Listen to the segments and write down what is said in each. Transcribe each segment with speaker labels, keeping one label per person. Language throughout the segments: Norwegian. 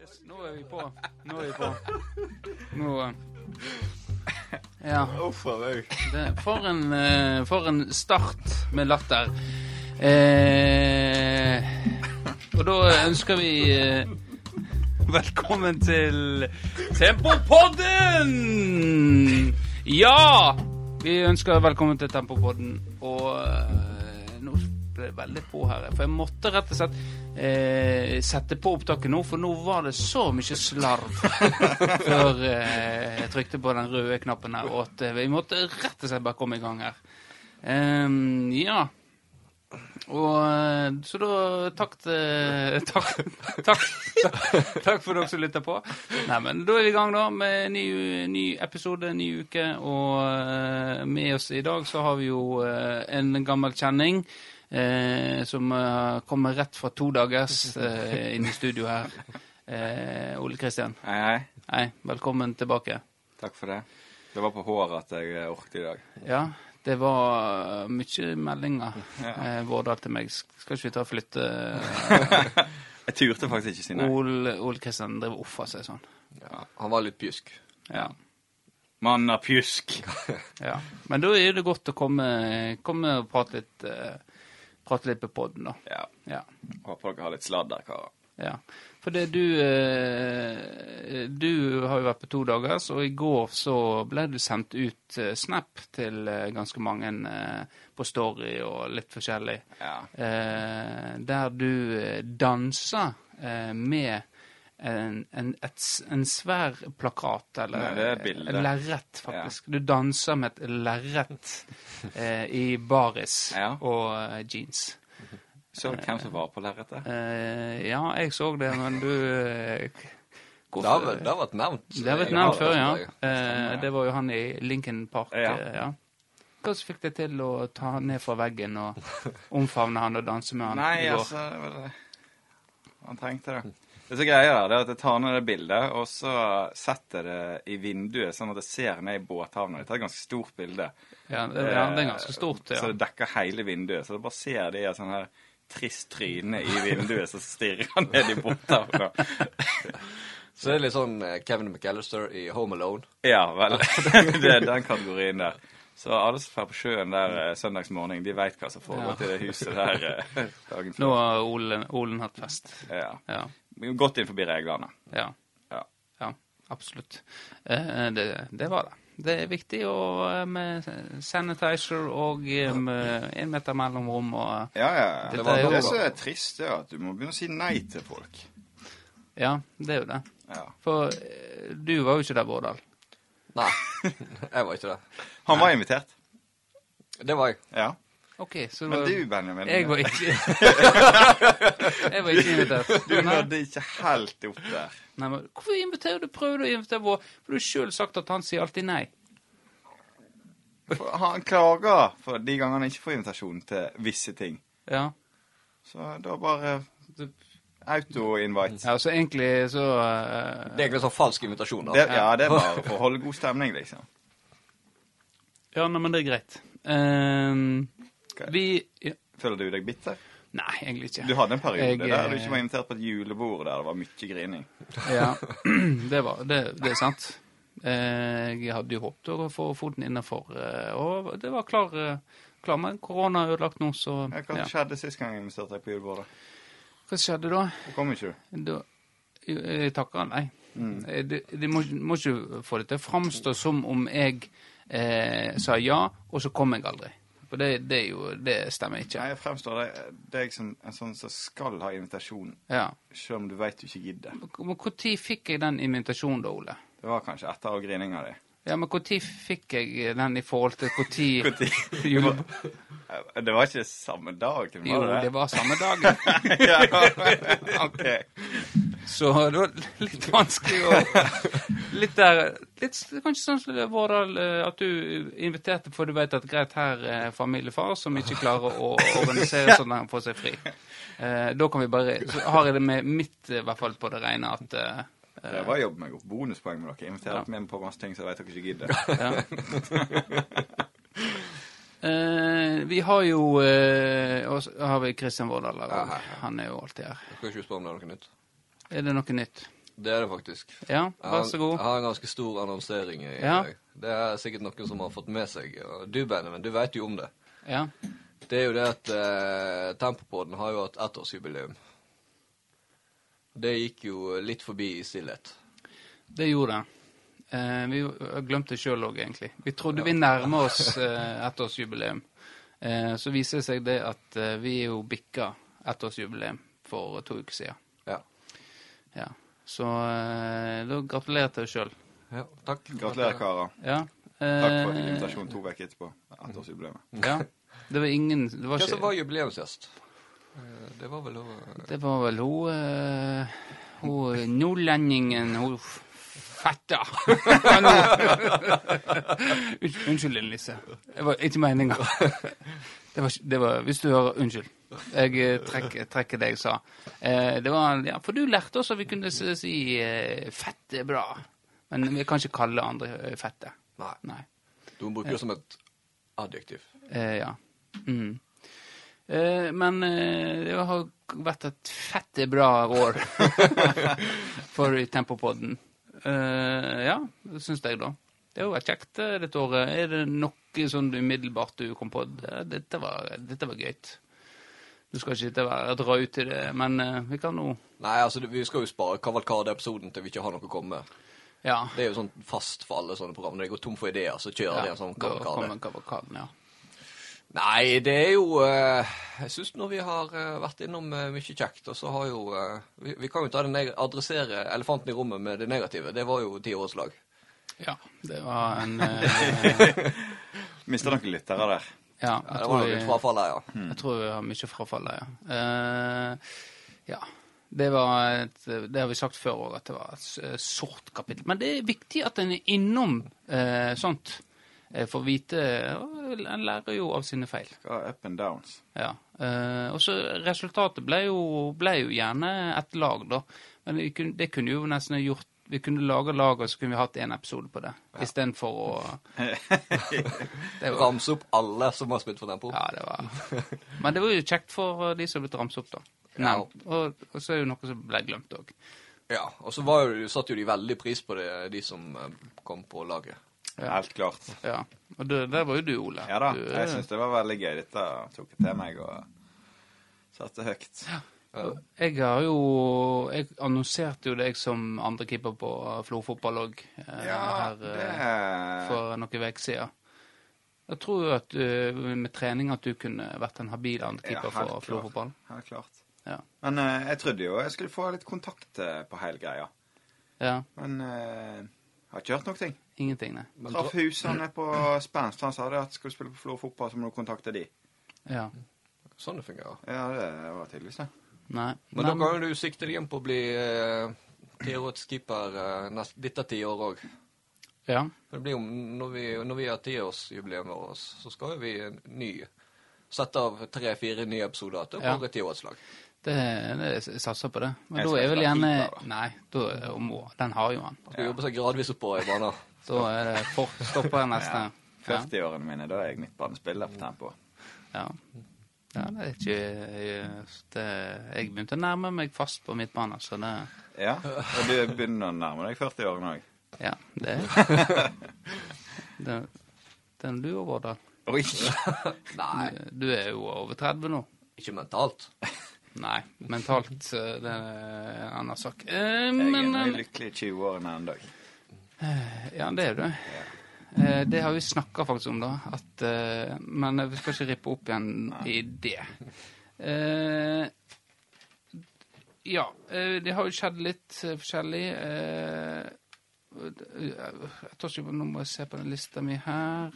Speaker 1: Yes, nå er vi på. Nå er vi på. Nå eh, Ja.
Speaker 2: Uff a meg.
Speaker 1: Det, for, en, eh, for en start med latter. Eh, og da ønsker vi eh, velkommen til Tempopodden! Ja! Vi ønsker velkommen til Tempopodden. Og eh, nå ble det veldig på her, for jeg måtte rett og slett eh, sette på opptaket nå, for nå var det så mye slarv før eh, jeg trykte på den røde knappen her, og at eh, vi måtte rett og slett bare komme i gang her. Ehm, ja. Og eh, så da takk til takk, takk, takk, takk for dere som lytter på. Nei, men da er vi i gang, da, med ny, ny episode, ny uke. Og eh, med oss i dag så har vi jo eh, en gammel kjenning. Eh, som eh, kommer rett fra to dagers eh, inn i studio her. Eh, Ole Kristian.
Speaker 2: Hei, hei.
Speaker 1: Hei, velkommen tilbake.
Speaker 2: Takk for det. Det var på håret at jeg eh, orket i dag.
Speaker 1: Ja, det var eh, mye meldinger, eh, Vårdal til meg. Skal ikke vi ta og flytte eh,
Speaker 2: Jeg turte faktisk ikke si nei.
Speaker 1: Ole Ole Kristian drev og offa seg sånn.
Speaker 3: Ja, han var litt pjusk.
Speaker 1: Ja.
Speaker 2: Mann av pjusk.
Speaker 1: ja. Men da er det godt å komme, komme og prate litt, eh, prate litt på poden, da.
Speaker 2: Ja.
Speaker 1: Ja.
Speaker 2: Håper dere har litt sladder, karer.
Speaker 1: Ja. For det du eh, Du har jo vært på to dager, så i går så ble du sendt ut eh, snap til eh, ganske mange eh, på Story og litt forskjellig,
Speaker 2: Ja.
Speaker 1: eh, der du eh, danser eh, med en, en, et, s- en svær plakat, eller
Speaker 2: Nei, det er et bilde.
Speaker 1: et lerret, faktisk. Du danser med et lerret eh, i baris
Speaker 2: Ja.
Speaker 1: og eh, jeans.
Speaker 2: Så du hvem som var på lerretet?
Speaker 1: Eh, ja, jeg så det, men du eh, k-
Speaker 3: Det har vært- det har vært nevnt.
Speaker 1: Det har vært
Speaker 3: Jeg
Speaker 1: nevnt
Speaker 3: har
Speaker 1: før, ja.
Speaker 3: det.
Speaker 1: Eh, det var jo han i Lincoln Park.
Speaker 2: Ja.
Speaker 1: eh, ja. Hva som fikk deg til å ta han ned fra veggen og omfavne han og danse med han?
Speaker 2: Nei,
Speaker 1: i går?
Speaker 2: altså det var det. Han trengte det. Det som er greia, da, det er at jeg tar ned det bildet, og så setter jeg det i vinduet, sånn at jeg ser ned i båthavna. Det er et ganske stort bilde.
Speaker 1: Ja, det, ja, det er ganske stort,
Speaker 2: eh,
Speaker 1: ja.
Speaker 2: Så det dekker hele vinduet. Så du bare ser de sånn her trist tryne i vinduet som stirrer ned i båthavna.
Speaker 3: Så det er litt sånn eh, Kevin McAllister i Home Alone.
Speaker 2: Ja, vel. det er den kategorien der. Så alle som drar på sjøen der eh, søndagsmorgen, de veit hva som foregår
Speaker 1: Ja.
Speaker 2: til det huset der eh, dagen
Speaker 1: Nå
Speaker 2: før.
Speaker 1: har Olen, Olen hatt fest.
Speaker 2: Ja.
Speaker 1: Ja.
Speaker 2: Godt inn forbi reglene.
Speaker 1: Ja.
Speaker 2: Ja.
Speaker 1: ja absolutt. Eh, det, det var det. Det er viktig å, eh, med sanitizer og eh, med én meter mellomrom og eh,
Speaker 4: Ja, ja. ja.
Speaker 1: Dette
Speaker 4: Det,
Speaker 1: er jo-
Speaker 4: som er trist, det er at du må begynne å si nei til folk.
Speaker 1: eh, Ja, det er jo det.
Speaker 4: Ja.
Speaker 1: For eh, du var jo ikke der, Vårdal.
Speaker 3: Nei, jeg var ikke det.
Speaker 4: Han var invitert.
Speaker 3: Det var jeg.
Speaker 4: Ja.
Speaker 1: Ok, så
Speaker 4: Men
Speaker 1: var-
Speaker 4: du, Benjamin,
Speaker 1: Jeg var ikke Jeg var ikke invitert.
Speaker 4: du
Speaker 1: Nei,
Speaker 4: nådde ikke helt opp der.
Speaker 1: nei, men hvorfor inviterer du prøver du å invitere vår For du har sjøl sagt at han sier alltid nei.
Speaker 4: For han klager for de gangene han ikke får invitasjon til visse ting.
Speaker 1: Ja.
Speaker 4: Så da bare auto-invite.
Speaker 1: ja så egentlig så eh,
Speaker 3: Det er egentlig sånn falsk invitasjon. da.
Speaker 4: Det, ja, det er bare for å holde god stemning, liksom.
Speaker 1: Ja, nei, men det er greit. Ehm,
Speaker 4: Ok.
Speaker 1: vi ja,
Speaker 4: Føler du deg bitter?
Speaker 1: Nei, egentlig ikke.
Speaker 4: Du hadde en periode
Speaker 1: Jeg,
Speaker 4: der du
Speaker 1: eh,
Speaker 4: ikke var invitert på et julebord der det var mye grining.
Speaker 1: Ja, det, var, det, det er sant. Eh, Jeg hadde jo håpet å få foten innafor, og det var klar, eh, klar men korona er ødelagt nå, så
Speaker 4: Ja, Hva
Speaker 1: ja.
Speaker 4: skjedde sist gang jeg inviterte deg på julebordet?
Speaker 1: Hva skjedde da?
Speaker 4: Da kom ikke du.
Speaker 1: Da, jeg, jeg takker nei.
Speaker 4: Mm.
Speaker 1: Eh, Det, det må, ikke- må ikke få det til å framstå som om jeg eh, sa ja, og så kom jeg aldri. For det, det, er jo, det stemmer ikke.
Speaker 4: Nei, jeg fremstår deg, deg som en sånn som skal ha invitasjon,
Speaker 1: Ja.
Speaker 4: selv om du veit du ikke gidder.
Speaker 1: Men når fikk jeg den invitasjonen, da, Ole?
Speaker 4: Det var kanskje etter all grininga di.
Speaker 1: Ja, men Når fikk jeg den i forhold til
Speaker 4: Hvor
Speaker 1: når
Speaker 4: tid? Det var ikke samme dag? Til
Speaker 1: Jo, det var samme dagen.
Speaker 4: ja. ok.
Speaker 1: Så det var litt vanskelig å Litt der litt, Kanskje sånn som det var da, eh, at du inviterte for du vet at greit, her er familiefar som ikke klarer å organisere sånn at han får seg fri. Eh, da kan vi bare Så har jeg det med mitt, eh, i hvert fall på det rene, at eh,
Speaker 4: Det var jobben jeg gjorde. Bonuspoeng med dere. Invitert
Speaker 1: Ja.
Speaker 4: med på masse ting som jeg vet dere ikke gidder.
Speaker 1: ja. Eh, vi har jo eh, Og så har vi Kristian Vårdal her.
Speaker 3: Ja,
Speaker 1: også.
Speaker 3: hei, hei.
Speaker 1: Han er jo alltid her.
Speaker 3: Du kan ikke spørre om det er noe nytt.
Speaker 1: Er det noe nytt?
Speaker 3: Det er det faktisk.
Speaker 1: Ja, vær så god.
Speaker 3: Jeg har en ganske stor annonsering i
Speaker 1: Ja.
Speaker 3: dag. Det er sikkert noen som har fått med seg. og Du, Benjamin, du veit jo om det.
Speaker 1: Ja.
Speaker 3: Det er jo det at eh, Tempopodden har jo hatt ettårsjubileum. Det gikk jo litt forbi i stillhet.
Speaker 1: Det gjorde det. Eh, vi har glemt det sjøl òg, egentlig. Vi trodde vi nærma oss eh, ettårsjubileum. Eh, så viser det seg det at eh, vi er jo bikka ettårsjubileum for to uker siden.
Speaker 3: Ja.
Speaker 1: Ja. Så eh, da gratulerer til deg sjøl.
Speaker 3: ja takk.
Speaker 4: Gratulerer, karer.
Speaker 1: Ja.
Speaker 4: Takk for
Speaker 1: Eh,
Speaker 4: invitasjonen to uker etterpå. Ettårsjubileet.
Speaker 1: Ja. Det var ingen Det var
Speaker 3: Hvem som var
Speaker 1: ikke
Speaker 3: jubileumsgjest? Eh, Det var vel hun
Speaker 1: Det var vel hun eh, Hun nordlendingen Hun f- fetta. Ja, nå. Unnskyld, Unnskyld, Linn Lise. Det var ikke meninga. Det var, ikke- det var Hvis du hører Unnskyld. Jeg eh, trekker, trekker det jeg sa. Eh, det var, ja, for du lærte oss at vi kunne si, si eh, 'fett er bra', men vi kan ikke kalle andre eh, fette.
Speaker 3: Nei.
Speaker 1: Nei.
Speaker 3: Du bruker det som et adjektiv.
Speaker 1: Eh, ja. Mm. Eh, men eh, det har vært et fette bra år for Tempopodden. Eh, ja, det syns jeg, da. Det har vært kjekt eh, dette året. Er det noe sånn umiddelbart du kom på? Ja, dette var, dette var gøyt. Du skal ikke dette være dra ut i det, men eh, vi kan nå
Speaker 3: Nei, altså, det- vi skal jo spare kavalkadeepisoden til vi ikke har noe å komme med.
Speaker 1: Ja.
Speaker 3: Det er jo sånn fast for alle sånne program. Når de går tom for ideer, så kjører de en sånn
Speaker 1: da
Speaker 3: kavalkade.
Speaker 1: kommer kavalkaden, ja.
Speaker 3: Nei, det er jo eh, Jeg syns nå vi har eh, vært innom eh, mye kjekt, og så har jo eh, vi, vi kan jo ta det neg adressere elefanten i rommet med det negative. Det var jo tiårslag.
Speaker 1: Ja, det var en eh,
Speaker 4: Mister noen lyttere der.
Speaker 1: Ja,
Speaker 3: Ja, det var jo litt frafall her, ja.
Speaker 1: Jeg tror vi har mye frafall der, ja. Eh, ja. Det, var et, det har vi sagt før òg, at det var et s- eh, sort kapittel. Men det er viktig at en er innom eh, sånt. eh, For å vite eh, En lærer jo av sine feil.
Speaker 4: Hva er up and downs?
Speaker 1: Ja. Eh, og så resultatet ble jo, ble jo gjerne et lag, da. Men vi kunne, det kunne jo nesten ha gjort Vi kunne laga lag, og så kunne vi hatt én episode på det. Istedenfor å det var,
Speaker 3: Ramse opp alle som har spilt for Tempo.
Speaker 1: ja, det var Men det var jo kjekt for eh, de som ble ramset opp, da.
Speaker 3: Ja.
Speaker 1: Nevnt. Og, og så er det jo noe som ble glemt òg.
Speaker 3: Ja, og så var jo, satte jo de veldig pris på det, de som eh, kom på laget.
Speaker 1: Ja.
Speaker 4: Helt klart.
Speaker 1: Ja. Og det, der var jo du, Ole.
Speaker 4: Ja da.
Speaker 1: Du, eh,
Speaker 4: Jeg syns det var veldig gøy. Dette tok jeg til meg og satte høyt.
Speaker 1: Jeg har jo Jeg annonserte jo deg som andrekeeper på eh, Florfotball òg
Speaker 4: Ja,
Speaker 1: her
Speaker 4: det
Speaker 1: eh, for noen uker siden. Jeg tror jo at eh, med trening at du kunne vært en habil
Speaker 4: Ja,
Speaker 1: andrekeeper
Speaker 4: helt
Speaker 1: for
Speaker 4: klart.
Speaker 1: Florfotball.
Speaker 4: Helt klart.
Speaker 1: Ja.
Speaker 4: Men eh, jeg trodde jo jeg skulle få litt kontakt eh, på hele greia.
Speaker 1: ja.
Speaker 4: Men eh, har ikke hørt noen ting.
Speaker 1: Ingenting, nei.
Speaker 3: Men
Speaker 4: Traff husene på Spenst. Han sa det at skulle du spille på Florø fotball, så må du kontakte de.
Speaker 1: Ja.
Speaker 3: dra- Sånn det fungerer.
Speaker 4: Ja, det var tydeligvis det.
Speaker 1: Nei.
Speaker 3: Men da
Speaker 1: Nei,
Speaker 3: kan jo du sikte deg inn på å bli eh, tiårets keeper eh, nest- dette tiåret òg.
Speaker 1: ja.
Speaker 3: For Det blir jo, når vi, når vi har tiårsjubileum over oss, så skal jo vi en ny sette av tre-fire nye episoder til
Speaker 1: Ja.
Speaker 3: våre tiårslag.
Speaker 1: Det, det, jeg satser på det. Men
Speaker 4: Jeg
Speaker 1: da
Speaker 4: skal
Speaker 1: er vel
Speaker 4: ikke ha
Speaker 1: gjerne
Speaker 4: keeper, da.
Speaker 1: Nei, da er- må Den har jo han.
Speaker 3: Man skal jobbe seg gradvis oppover i banen.
Speaker 1: Da er det for stopper jeg nesten. Ja.
Speaker 4: 40-årene mine, da er jeg midtbanespiller på tempo.
Speaker 1: Ja. ja, det er ikke just det. Jeg begynte å nærme meg fast på midtbane, så det
Speaker 4: Ja, Og du begynner å nærme deg 40-årene òg.
Speaker 1: Ja, det det- Den er du over, da.
Speaker 4: Oi!
Speaker 3: Nei,
Speaker 1: Du er jo over 30 nå.
Speaker 3: ikke mentalt.
Speaker 1: Nei, mentalt eh, det er en annen sak. Eh,
Speaker 4: Jeg er
Speaker 1: Men
Speaker 4: nå i
Speaker 1: eh,
Speaker 4: lykkelige 20-årene ennå.
Speaker 1: Ja, det er du. Eh, Det har vi snakka faktisk om, da. At, eh, men vi skal ikke rippe opp igjen i det. Eh, ja, eh, det har jo skjedd litt eh, forskjellig. Eh, jeg tar ikke på Nå må jeg se på den lista mi her.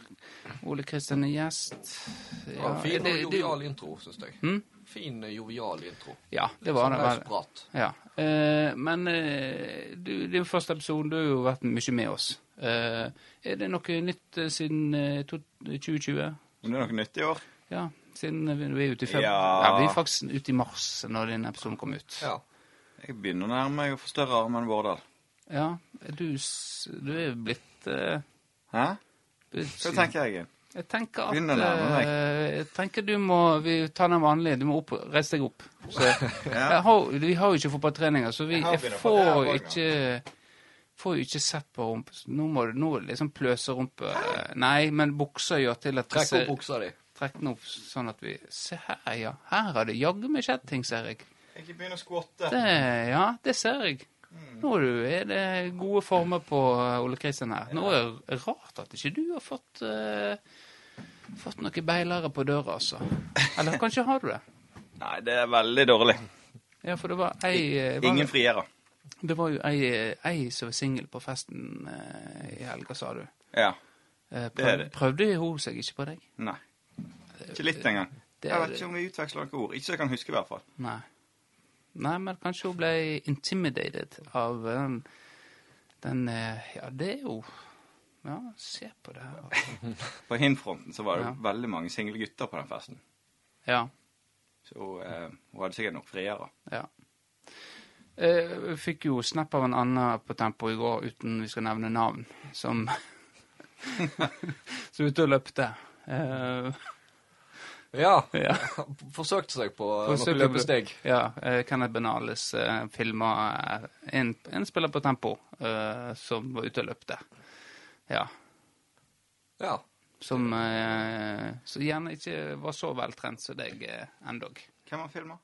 Speaker 1: Ole Kristian er gjest.
Speaker 3: Ja, fin
Speaker 1: det,
Speaker 3: og
Speaker 1: det,
Speaker 3: jovial intro, syns jeg.
Speaker 1: Mm?
Speaker 3: Fin og jovial intro.
Speaker 1: ja, det var det.
Speaker 3: Sånn løs
Speaker 1: Var,
Speaker 3: prat.
Speaker 1: ja. Eh, men eh, du, din første episode, du har jo vært mye med oss. Eh, er det noe nytt eh, siden eh, to- 2020?
Speaker 4: Om det er noe nytt i år?
Speaker 1: Ja, siden vi vi er ute i februar.
Speaker 4: Ja.
Speaker 1: Ja, vi er faktisk ute i mars når den episoden kom ut.
Speaker 3: Ja.
Speaker 4: Jeg begynner å nærme meg å få større armer enn Vårdal.
Speaker 1: Ja, du, s- du er jo blitt eh,
Speaker 4: Hæ?
Speaker 1: blitt-
Speaker 4: Hva tenker jeg?
Speaker 1: Jeg tenker at
Speaker 4: Begynner å nærme meg.
Speaker 1: eh, Jeg tenker du må vi, ta den vanlige. Du må opp, reise deg opp. Så,
Speaker 4: Ja.
Speaker 1: jeg har, vi har jo ikke fotballtreninger, så vi,
Speaker 4: Jeg har
Speaker 1: jeg
Speaker 4: begynner på det her
Speaker 1: får
Speaker 4: også,
Speaker 1: ikke Får jo ikke sett på rumpe. Nå må du nå er det liksom pløserumpe Nei, men bukser gjør til at det
Speaker 3: Trekk
Speaker 1: ser-
Speaker 3: opp buksa di.
Speaker 1: Trekk den opp sånn at vi Se her, ja. Her har det jaggu meg skjedd ting, ser jeg.
Speaker 4: Ikke begynn å skvatte.
Speaker 1: Det, ja, det ser jeg. Nå er du- er det gode former på eh, Ole Kristian her. Nå er det rart at ikke du har fått eh, Fått noen beilere på døra, altså. Eller kanskje har du det?
Speaker 4: Nei, det er veldig dårlig.
Speaker 1: Ja, for det var ei eh, var,
Speaker 4: Ingen frigjører.
Speaker 1: Det var jo ei, eh, ei som var singel på festen eh, i helga, sa du.
Speaker 4: Ja.
Speaker 1: Eh,
Speaker 4: Det er
Speaker 1: prøv,
Speaker 4: det.
Speaker 1: prøvde hun seg ikke på deg?
Speaker 4: Nei. Ikke litt engang.
Speaker 1: Det
Speaker 4: Jeg
Speaker 1: er-
Speaker 4: vet ikke om vi utveksler noen ord. Ikke så jeg kan huske, i hvert fall.
Speaker 1: Nei. Nei, men kanskje hun ble intimidated av eh, den, den eh, Ja, det er jo Ja, se på det her. altså.
Speaker 4: På hin-fronten så var det
Speaker 1: Ja.
Speaker 4: jo veldig mange single gutter på den festen.
Speaker 1: Ja.
Speaker 4: Så eh, hun hadde sikkert nok frigjører.
Speaker 1: ja. Eh, Jeg fikk jo snap av en annen på Tempo i går, uten vi skal nevne navn, som Som var ute og løpte. Eh,
Speaker 3: Ja.
Speaker 1: ja.
Speaker 3: Forsøkte seg på eh,
Speaker 1: Forsøkte
Speaker 3: noen
Speaker 1: på-
Speaker 3: løpesteg.
Speaker 1: Ja, eh, Kenneth Benales uh, filma en, en spiller på Tempo eh, som var ute og løpte. Ja.
Speaker 3: Ja.
Speaker 1: Som eh, så gjerne ikke var så veltrent som deg eh, endog.
Speaker 4: Hvem har filma?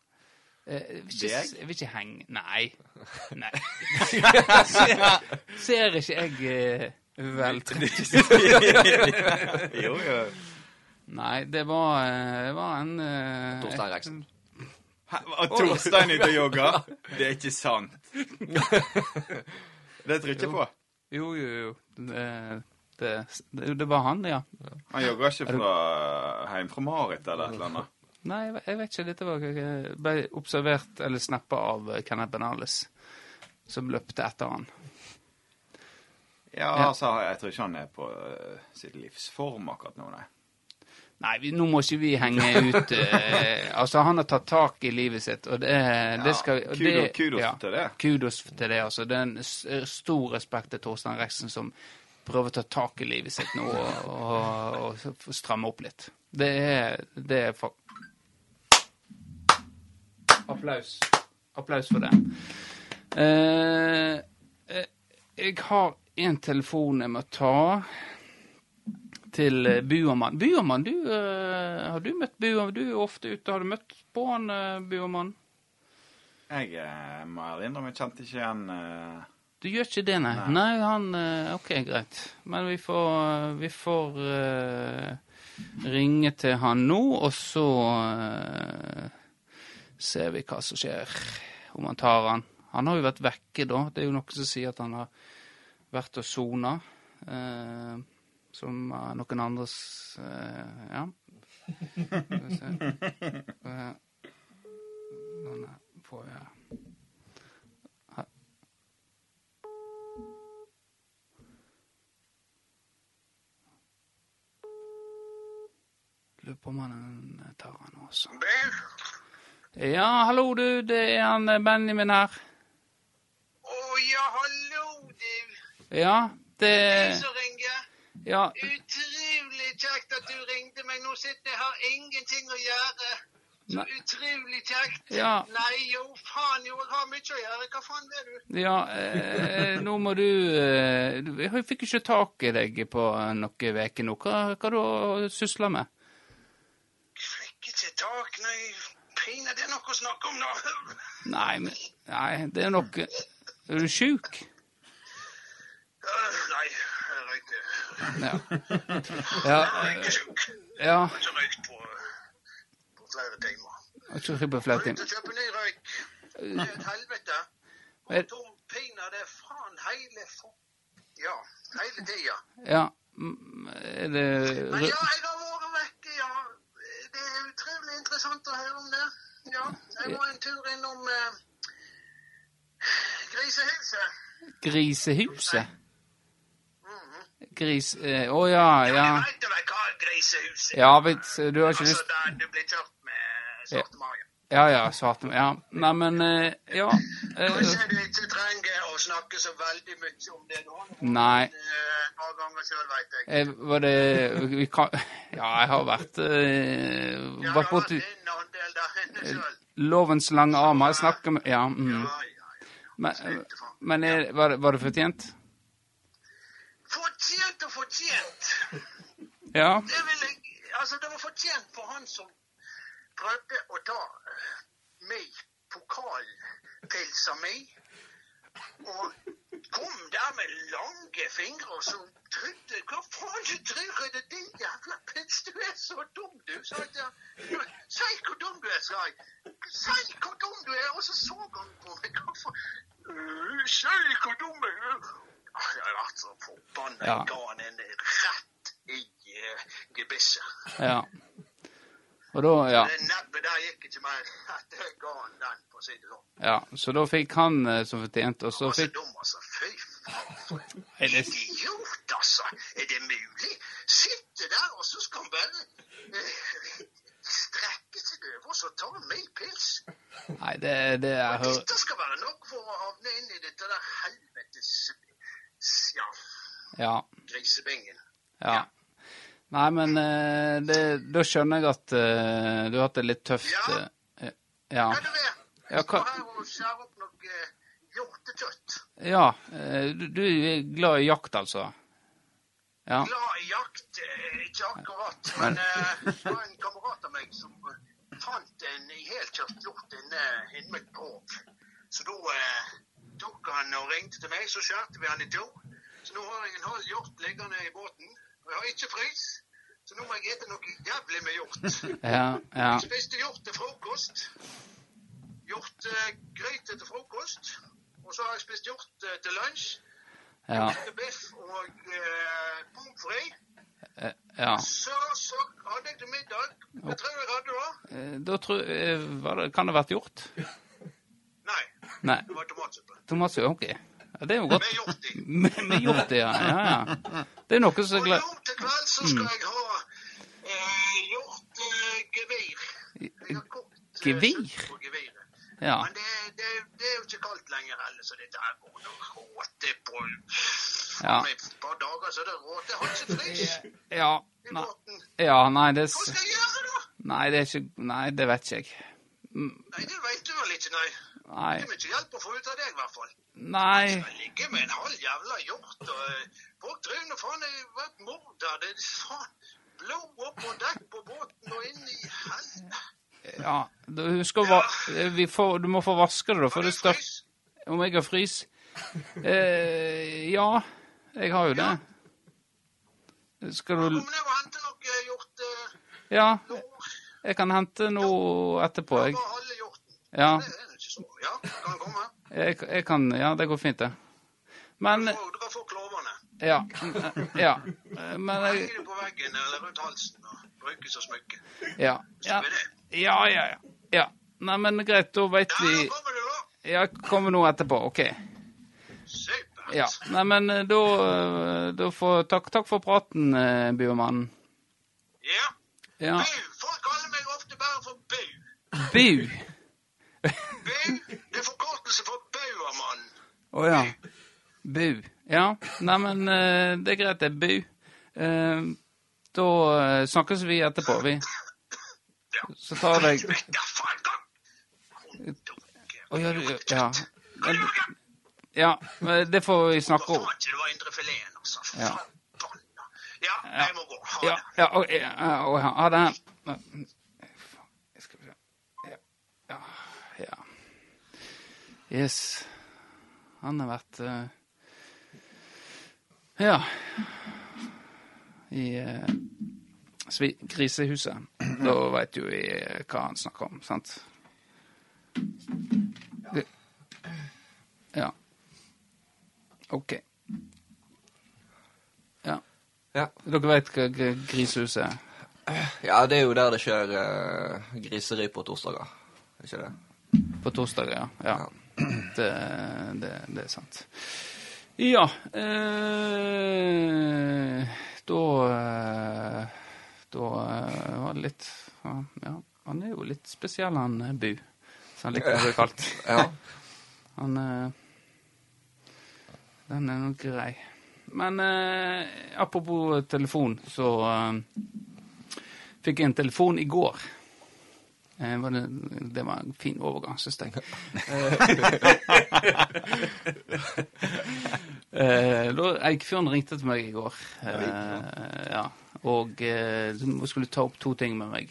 Speaker 1: Eh, jeg vil ikke,
Speaker 4: Deg?
Speaker 1: jeg vil ikke henge Nei. Nei. ser, ser ikke jeg eh, veltrent ut?
Speaker 4: Jo, jo.
Speaker 1: Nei, det var, eh, det var en eh,
Speaker 3: Torstein Reksen.
Speaker 4: Hæ, Var Torstein ute og jogga? Det er ikke sant. Det tror jeg ikke på.
Speaker 1: Jo, jo, jo. Det, det, det, det var han, ja.
Speaker 4: Han jogger ikke fra hjem fra Marit eller et eller annet.
Speaker 1: Nei, jeg ve- jeg vet ikke. Dette var, jeg ble observert eller snappa av eh, Kenneth Benales, som løpte etter han.
Speaker 4: Ja,
Speaker 1: Ja.
Speaker 4: altså, jeg tror ikke han er på eh, sitt livs form akkurat nå, nei.
Speaker 1: Nei, vi, nå må ikke vi henge ut eh, Altså, han har tatt tak i livet sitt, og det, det skal og
Speaker 4: kudo-
Speaker 1: det-
Speaker 4: kudos til det.
Speaker 1: Kudos til det, altså. Det er en s- stor respekt til Torstein Reksen som prøver å ta tak i livet sitt nå og, og, og stramme opp litt. Det er, det er fa- Applaus. Applaus for det. Eh, eh, jeg har en telefon jeg må ta til eh, Buermann. Buermann, du, eh, har du møtt Buermann? Du er jo ofte ute. Har du møtt på han, eh, Buermann?
Speaker 4: Jeg eh, må ærlig innrømme, jeg kjente ikke igjen eh,
Speaker 1: Du gjør ikke det, nei? Nei, han eh, OK, greit. Men vi får, vi får eh, ringe til han nå, og så eh, ser vi hva som skjer. Om han tar han. Han har jo vært vekke, da. Det er jo noen som sier at han har vært og sona. eh, som eh, noen andres eh, Ja. Skal vi se. Eh, Sånn her. Får jeg Lurer på om han eh, tar han også. Ja, hallo du, det er han eh, Benjamin her.
Speaker 5: Å ja, hallo, du.
Speaker 1: Ja,
Speaker 5: Du
Speaker 1: det
Speaker 5: som ringer.
Speaker 1: Ja,
Speaker 5: Utrolig kjekt at du ringte meg. Nå sitter jeg her, ingenting å gjøre. Så
Speaker 1: Nei.
Speaker 5: utrolig kjekt.
Speaker 1: Ja.
Speaker 5: Nei, jo, faen jo, jeg har mye å gjøre. Hva faen er du?
Speaker 1: ja eh, nå må du eh, du- Jeg fikk ikke tak i deg på eh, noen uker nå. Hva, hva du sysler med?
Speaker 5: Fikk ikke tak, nei. Pinadø, det er noe å snakke om nå.
Speaker 1: Nei, men Nei, det er noe Er du sjuk?
Speaker 5: Øh, Nei, jeg røykte.
Speaker 1: Ja. Ja,
Speaker 5: Jeg er ikke sjuk. Jeg
Speaker 1: ja.
Speaker 5: har ikke røykt på, på flere timer.
Speaker 1: Jeg har Ikke rybb på flaut
Speaker 5: Ut
Speaker 1: inn.
Speaker 5: og kjøpe ny røyk. Det er et helvete.
Speaker 1: Men-
Speaker 5: Og Tom pinadø faen hele for... Ja, hele tida.
Speaker 1: Ja. mm, Er det
Speaker 5: Men ja, jeg har vært vekke, ja. Det er utrolig interessant å høre om det. Ja, jeg var en tur innom eh, grisehuset.
Speaker 1: Grisehuset?
Speaker 5: Mhm.
Speaker 1: Gris... eh, Å ja, ja.
Speaker 5: Du vet jo hva grisehuset er.
Speaker 1: Ja, vet, du har ikke
Speaker 5: Altså
Speaker 1: lyst
Speaker 5: der du blir kjørt med svart mage.
Speaker 1: Ja ja, svarte meg. Ja. Neimen, eh, ja. Eh,
Speaker 5: Kanskje du ikke trenger å snakke så veldig mye om det nå.
Speaker 1: Nei.
Speaker 5: Eh, Et par ganger sjøl, veit jeg.
Speaker 1: Eh, Var det vi kan, Ja, jeg har vært eh,
Speaker 5: Ja,
Speaker 1: Vært
Speaker 5: det var
Speaker 1: borti
Speaker 5: en andel der inne sjøl.
Speaker 1: lovens lange armer. Jeg snakker med Ja. Mm.
Speaker 5: Ja, ja, ja.
Speaker 1: Men, men er, var, det- var det fortjent?
Speaker 5: Fortjent og fortjent.
Speaker 1: Ja.
Speaker 5: Det vil jeg Altså, det var fortjent for han som prøvde å ta eh, meg, pokalpilsa mi, og kom der med lange fingre og så trodde Hva faen du tror er det din jævla pils? Du er så dum, du! sa jeg til han. Si hvor dum du er, sa jeg. Si hvor dum du er! Og så så han på meg. Hva faen? «Øh, Si hvor dum jeg er! Ah, Jeg har vært så forbanna.
Speaker 1: Ja.
Speaker 5: Jeg ga han en rett i eh, gebisset.
Speaker 1: ja. Og da Ja.
Speaker 5: Det nebbet der gikk ikke mer enn at jeg ga han den, for å si det sånn.
Speaker 1: ja. Så da fikk han eh, som fortjent, og så
Speaker 5: Og så
Speaker 1: fikk
Speaker 5: dum, altså. Fy faen. for en
Speaker 1: Er det-
Speaker 5: Idiot, altså. Er det mulig? Sitte der, og så skal han bare eh, strekke seg over og så ta meg pils.
Speaker 1: Nei, det, det jeg hører
Speaker 5: Dette skal være nok for å havne inn i dette der helvetes s- ja,
Speaker 1: Ja.
Speaker 5: grisebingen.
Speaker 1: ja. Nei, men eh, det, da skjønner jeg at eh, du har hatt det litt tøft. eh, Ja.
Speaker 5: Hva er det med?
Speaker 1: Ja,
Speaker 5: Jeg står
Speaker 1: hva-
Speaker 5: her og skjærer opp noe eh, hjortetøtt.
Speaker 1: ja. eh, Du, du er glad i jakt, altså? Ja.
Speaker 5: glad i jakt, eh, ikke akkurat. Men eh, det var en kamerat av meg som eh, fant en helkjørt eh, hjort inne inne med et grov. Så da eh, tok han og ringte til meg, så skjærte vi han i to. Så nå har jeg en halv hjort liggende i båten. Og jeg har ikke frys, så nå må jeg ete noe jævlig med hjort.
Speaker 1: Ja. ja.
Speaker 5: Jeg spiste hjort til frokost. Hjortegryte til frokost. Og så har jeg spist hjort eh, til lunsj.
Speaker 1: Ja.
Speaker 5: Biff og eh, pommes frites.
Speaker 1: ja.
Speaker 5: Så, så hadde jeg til middag. Hva tror du jeg hadde da?
Speaker 1: Eh, Da tror jeg hva det, Kan det ha vært gjort?
Speaker 5: Nei,
Speaker 1: Nei.
Speaker 5: det var tomatsuppe.
Speaker 1: Thomas OK. Ja, det er jo godt.
Speaker 5: Med hjort i.
Speaker 1: Med, med hjort, ja. ja, ja. Det er noe som er
Speaker 5: Og
Speaker 1: glad Mm.
Speaker 5: nå til kveld så skal jeg ha eh, hjortegevir. Jeg har kokt eh,
Speaker 1: Gevir?
Speaker 5: suppe på geviret.
Speaker 1: Ja.
Speaker 5: Men det, det, det er jo ikke kaldt lenger heller, så dette her går nok råte på
Speaker 1: Ja.
Speaker 5: Om et par dager så er det råte. Jeg har ikke frys
Speaker 1: Ja.
Speaker 5: i
Speaker 1: Nei,
Speaker 5: båten.
Speaker 1: ja, nei, det,
Speaker 5: Hva
Speaker 1: s-
Speaker 5: skal jeg gjøre da?
Speaker 1: nei, det er ikke Nei, det vet ikke jeg.
Speaker 5: Nei, det veit du vel ikke, nei.
Speaker 1: Nei.
Speaker 5: Det er mye hjelp å få ut av deg, i hvert fall.
Speaker 1: Nei.
Speaker 5: Jeg ligger med en halv jævla hjort og eh, folk tror nå faen jeg har vært morder. Det er faen blod opp på dekk på båten og inn i helvete.
Speaker 1: Ja. Du husker hva eh, vi får, Du må få vaske det, da, for det
Speaker 5: Har du
Speaker 1: største
Speaker 5: frys?
Speaker 1: Om jeg har frys? Eh, ja. Jeg har jo det. Skal
Speaker 5: Kom
Speaker 1: du
Speaker 5: ned og hente noe eh, hjort. eh,
Speaker 1: Ja.
Speaker 5: lår.
Speaker 1: Jeg kan hente noe etterpå, jeg.
Speaker 5: Bare halve hjorten.
Speaker 1: Ja.
Speaker 5: Det er jo ikke så. Ja, kan du komme?
Speaker 1: Jeg, jeg kan Ja, det går fint, det. Men
Speaker 5: Og du kan få klovene.
Speaker 1: Ja. ja. Men jeg
Speaker 5: Henger du på veggen eller rundt halsen og brukes som smykke.
Speaker 1: Ja. Ja,
Speaker 5: Så er det.
Speaker 1: ja. ja, ja. ja. Nei, men greit, da veit
Speaker 5: Ja,
Speaker 1: vi
Speaker 5: da kommer du, da.
Speaker 1: Jeg kommer nå etterpå, OK.
Speaker 5: Supert.
Speaker 1: Ja. Nei, men eh, da, eh, da får takk, takk for praten, eh, buemannen.
Speaker 5: ja.
Speaker 1: Ja.
Speaker 5: Bu. Folk kaller meg ofte bare for Bu.
Speaker 1: Bu.
Speaker 5: Bu det er forkortelse for Bauermann.
Speaker 1: Å ja. Bu. Ja. Nei, men eh, det er greit, det. Bu. Eh, da eh, snakkes vi etterpå, vi.
Speaker 5: Ja.
Speaker 1: Så tar jeg
Speaker 5: Vekk derfra en gang!
Speaker 1: Å ja, du Ja. Men- Ja, men det får vi snakke om.
Speaker 5: Faen ikke, det var indre fileten, altså.
Speaker 1: Ja.
Speaker 5: Forbanna. Ja, jeg må gå. Ha
Speaker 1: Ja,
Speaker 5: det.
Speaker 1: ja, og, ja, og, ha det. Faen, jeg skal se. Ja, ja, ja. Yes. Han har vært eh, Ja. I eh, svi grisehuset. Da veit jo vi eh, hva han snakker om, sant? Det- Ja. OK. Ja.
Speaker 3: Ja.
Speaker 1: Dere veit hva gr- grisehuset er?
Speaker 3: Ja, det er jo der det skjer eh, griseri på torsdager. Er Ikke det?
Speaker 1: På torsdager, ja. ja. Det, det, det er sant. Ja eh, Da eh, Da eh, var det litt Ja. ja. Han er jo litt spesiell, han eh, Bu. Som han liker å bli kalt.
Speaker 3: Ja.
Speaker 1: Han eh, Den er nok grei. Men eh, apropos telefon, så eh, fikk jeg en telefon i går. Eh, var det, det var en fin overgang, syns jeg. Eh, da Eikfjørn ringte til meg i går eh, ja, og eh, hun skulle ta opp to ting med meg.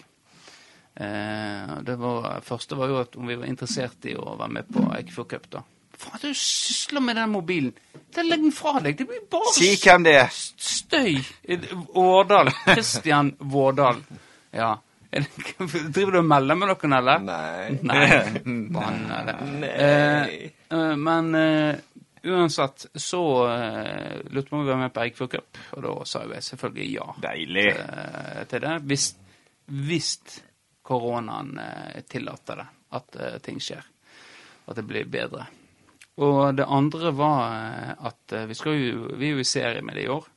Speaker 1: Eh, og det var, første var jo at om vi var interessert i å være med på Eikefjord Cup, da. Faen, du sysler med den mobilen! Den legger den fra deg! Det blir bare
Speaker 4: Si hvem det er.
Speaker 1: støy! Eh, Vårdal. Christian Vårdal. Ja. Er det- Driver du og melder med noen, eller?
Speaker 3: Nei.
Speaker 1: Nei. Banna det.
Speaker 3: Nei.
Speaker 1: Eh, eh, men eh, uansett så eh, lurte vi på om vi var med på Eikfjord Cup, og da sa jo jeg selvfølgelig ja
Speaker 4: Deilig.
Speaker 1: eh, til det. Hvis, hvis koronaen eh, tillater det, at eh, ting skjer. At det blir bedre. Og det andre var eh, at eh, vi, skal jo, vi er jo i serie med det i år.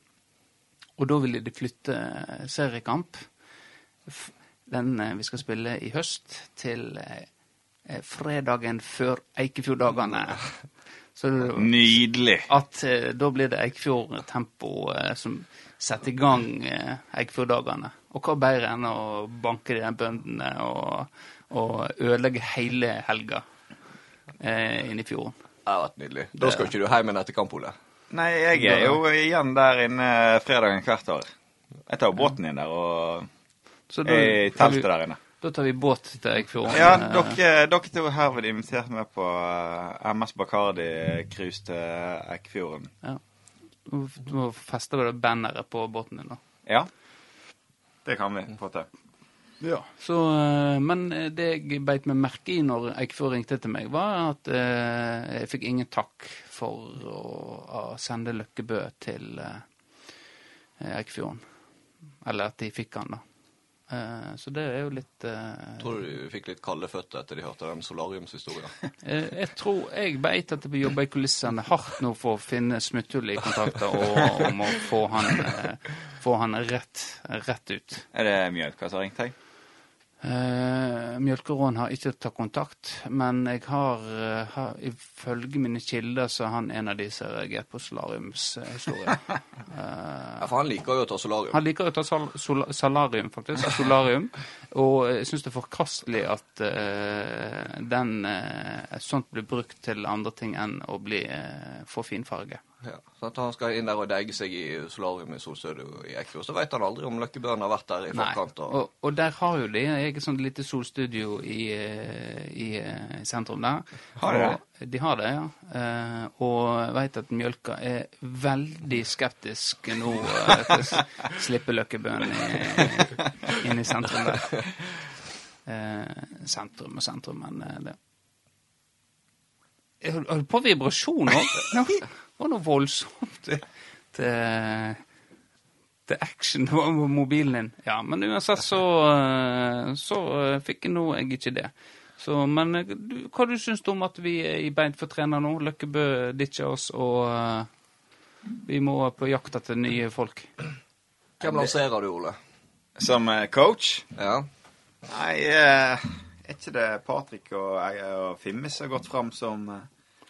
Speaker 1: Og da ville de flytte eh, seriekamp. F- Den eh, vi skal spille i høst, til eh, eh, fredagen før Eikefjorddagene. Så det-
Speaker 4: Nydelig.
Speaker 1: at eh, da blir det Eikfjord-tempo eh, som setter i gang eh, Eikfjord-dagene. Og hva bedre enn å banke de der bøndene og, og ødelegge hele helga eh, inne i fjorden.
Speaker 3: Det har vært nydelig. Da skal ikke du hjem igjen etter kamp, Ole.
Speaker 4: Nei, jeg er jo igjen der inne fredagen hvert år. Jeg tar jo båten inn der og
Speaker 1: Så da,
Speaker 2: Eh,
Speaker 4: er i
Speaker 1: tar vi,
Speaker 4: teltet der inne.
Speaker 1: da tar vi båt til Eikfjorden.
Speaker 4: Ja,
Speaker 1: eh,
Speaker 4: dere, dere to er herved invitert med på eh, MS Bacardi-cruise til Eikfjorden.
Speaker 1: Du må feste det banneret på båten din, da.
Speaker 4: Ja, det kan vi få til.
Speaker 1: Så, eh, men eh, det jeg beit meg merke i når Eikfjord ringte til meg, var at eh, jeg fikk ingen takk for å, å sende Løkkebø til eh, Eikfjorden. Eller at de fikk han, da. Eh, så det er jo litt eh,
Speaker 3: Tror du du fikk litt kalde føtter etter de hørte den solariumshistorien?
Speaker 1: eh, Jeg tror jeg beit at det blir jobba i kulissene hardt nå for å finne smutthull i kontakter og om å få han, eh, få han rett, rett ut.
Speaker 4: Er det Mjølka som har ringt deg?
Speaker 1: Eh, Mjølkeråen har ikke tatt kontakt, men jeg har, eh, har ifølge mine kilder så er han en av de som har reagert på solariumshistorien.
Speaker 3: Ja, for han liker jo å ta solarium.
Speaker 1: Han liker å ta sal sol salarium, faktisk. Solarium. Og eh, jeg syns det er forkastelig at eh, den eh, sånt blir brukt til andre ting enn å bli eh, få finfarge.
Speaker 3: Ja, sant? Han skal inn der og degge seg i solarium i Solsød og i Eikfjord. Så veit han aldri om Løkkebøen har vært der i
Speaker 1: Nei.
Speaker 3: forkant. Og...
Speaker 1: Og, og der har jo de eget sånt lite solstudio i, eh, i, eh, sentrum der.
Speaker 4: Har de
Speaker 1: Og- De har det, ja. Eh, og jeg vet at Mjølka er veldig skeptisk nå eh, til å s- slippe Løkkebøen i- inn i sentrum der. Eh, sentrum og sentrum, men eh, det Jeg hol- holdt på vibrasjon òg. Det var noe voldsomt. Det til action på mobilen din. Ja, men uansett så, eh, så eh, fikk jeg nå jeg ikke det. Så, men eh, du, hva du syns du om at vi er i beint for trener nå? Løkkebø ditcher oss, og eh, vi må på jakt etter nye folk.
Speaker 3: Hvem lanserer du, Ole?
Speaker 4: Som eh, coach?
Speaker 3: Ja.
Speaker 4: Nei, eh, er ikke det Patrick og, jeg og Fimmis har gått fram som eh,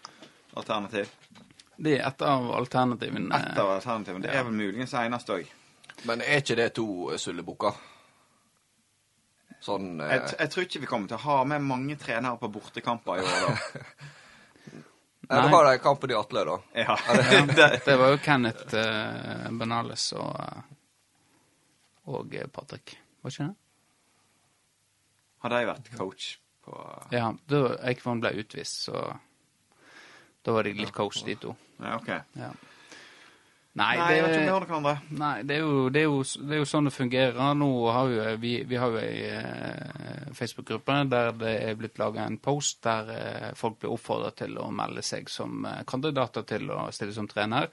Speaker 4: alternativ?
Speaker 1: Det er et av alternativene.
Speaker 4: Et av alternativene. Det er vel muligens eneste òg.
Speaker 3: Men er ikke det to eh, sullebukker? Sånn eh,
Speaker 4: Jeg, t- jeg tror ikke vi kommer til å ha med mange trenere på bortekamper i år, da.
Speaker 3: ja, Det var den kampen i Atle, da.
Speaker 4: Ja, det,
Speaker 1: Det var jo Kenneth eh, Benales og, eh, og eh, Patrick, var ikke det?
Speaker 4: har de vært coach på
Speaker 1: Ja, da Eikvon ble utvist, så da var de litt coach, de to.
Speaker 4: Ja, OK.
Speaker 1: Ja. Nei,
Speaker 4: Nei,
Speaker 1: det,
Speaker 4: jeg vet ikke om vi har noen andre.
Speaker 1: Nei, det er, jo, det, er jo, det er jo sånn det fungerer. Nå har jo, vi, vi har jo ei eh, Facebook-gruppe der det er blitt laga en post der eh, folk blir oppfordra til å melde seg som eh, kandidater til å stille som trener.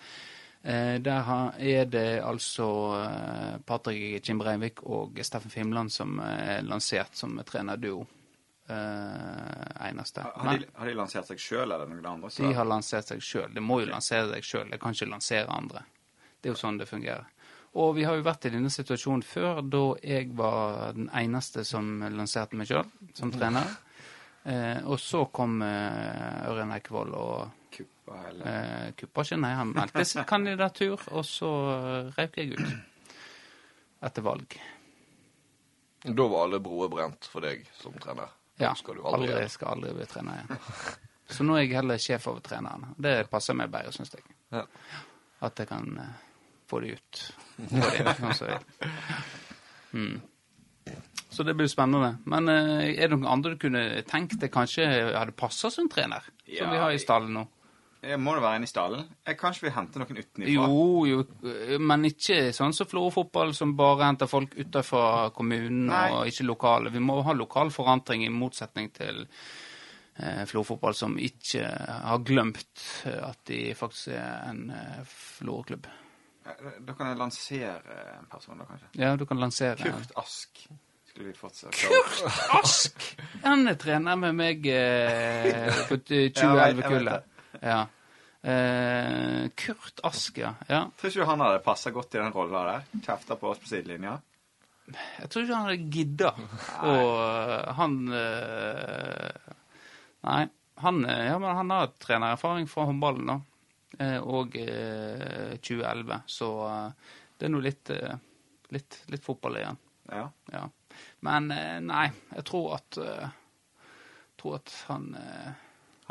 Speaker 1: Eh, der har, er det altså eh, Patrick Jim Breivik og Steffen Fimland som eh, er lansert som trenerduo. Eh, eneste.
Speaker 4: Har de, har de lansert seg sjøl, eller noen andre?
Speaker 1: De har lansert seg sjøl. De må jo lansere seg sjøl. De kan ikke lansere andre. Det er jo sånn det fungerer. Og vi har jo vært i denne situasjonen før, da jeg var den eneste som lanserte meg sjøl som trener. Eh, og så kom eh, Ørjan Eikvoll og
Speaker 2: Kuppa hele
Speaker 1: eh, kuppa ikke. Nei, han meldte sin kandidatur, og så eh, røyk jeg ut. Etter valg.
Speaker 3: Da var alle broer brent for deg som trener.
Speaker 1: Ja.
Speaker 3: Skal du aldri
Speaker 1: aldri,
Speaker 3: gjøre.
Speaker 1: skal aldri bli trener igjen. Så nå er jeg heller sjef over treneren. Det passer meg bedre, syns jeg.
Speaker 3: Ja.
Speaker 1: At jeg kan eh, få det ut. Få det inn, sånn som jeg vil. Mm. Så det blir jo spennende. Men eh, er det noen andre du kunne tenkt deg kanskje hadde passa som trener? Som
Speaker 2: Ja,
Speaker 1: vi har
Speaker 2: jeg-
Speaker 1: i stallen nå.
Speaker 2: Eh, Må det være en i stallen? Eh, Kanskje vi henter noen utenfra?
Speaker 1: Jo, jo, men ikke sånn som Florø fotball, som bare henter folk utenfor kommunen og ikke lokale. Vi må ha lokal forandring, i motsetning til eh, Florø fotball, som ikke har glemt eh, at de faktisk er en eh, Florø-klubb.
Speaker 2: Eh, Da kan jeg lansere en person, da, kanskje.
Speaker 1: Ja, du kan lansere.
Speaker 2: Kurt Ask skulle vi fortsatt
Speaker 1: Kurt Ask! Han er trener med meg eh, på
Speaker 2: Ja, jeg vet- jeg vet
Speaker 1: 2011-kullet. Ja. Eh, Kurt Ask, ja. ja.
Speaker 2: Tror ikke du han hadde passa godt i den rolla der? Kjefta på oss på sidelinja?
Speaker 1: Jeg tror ikke han hadde gidda. Og øh, han øh, Nei. Han, øh, ja, men han har trenererfaring fra håndballen, da. Eh, Og øh, 2011. Så øh, det er nå litt, øh, litt, litt fotball igjen.
Speaker 2: Ja.
Speaker 1: Ja. Men øh, nei, jeg tror at øh, tror at han øh,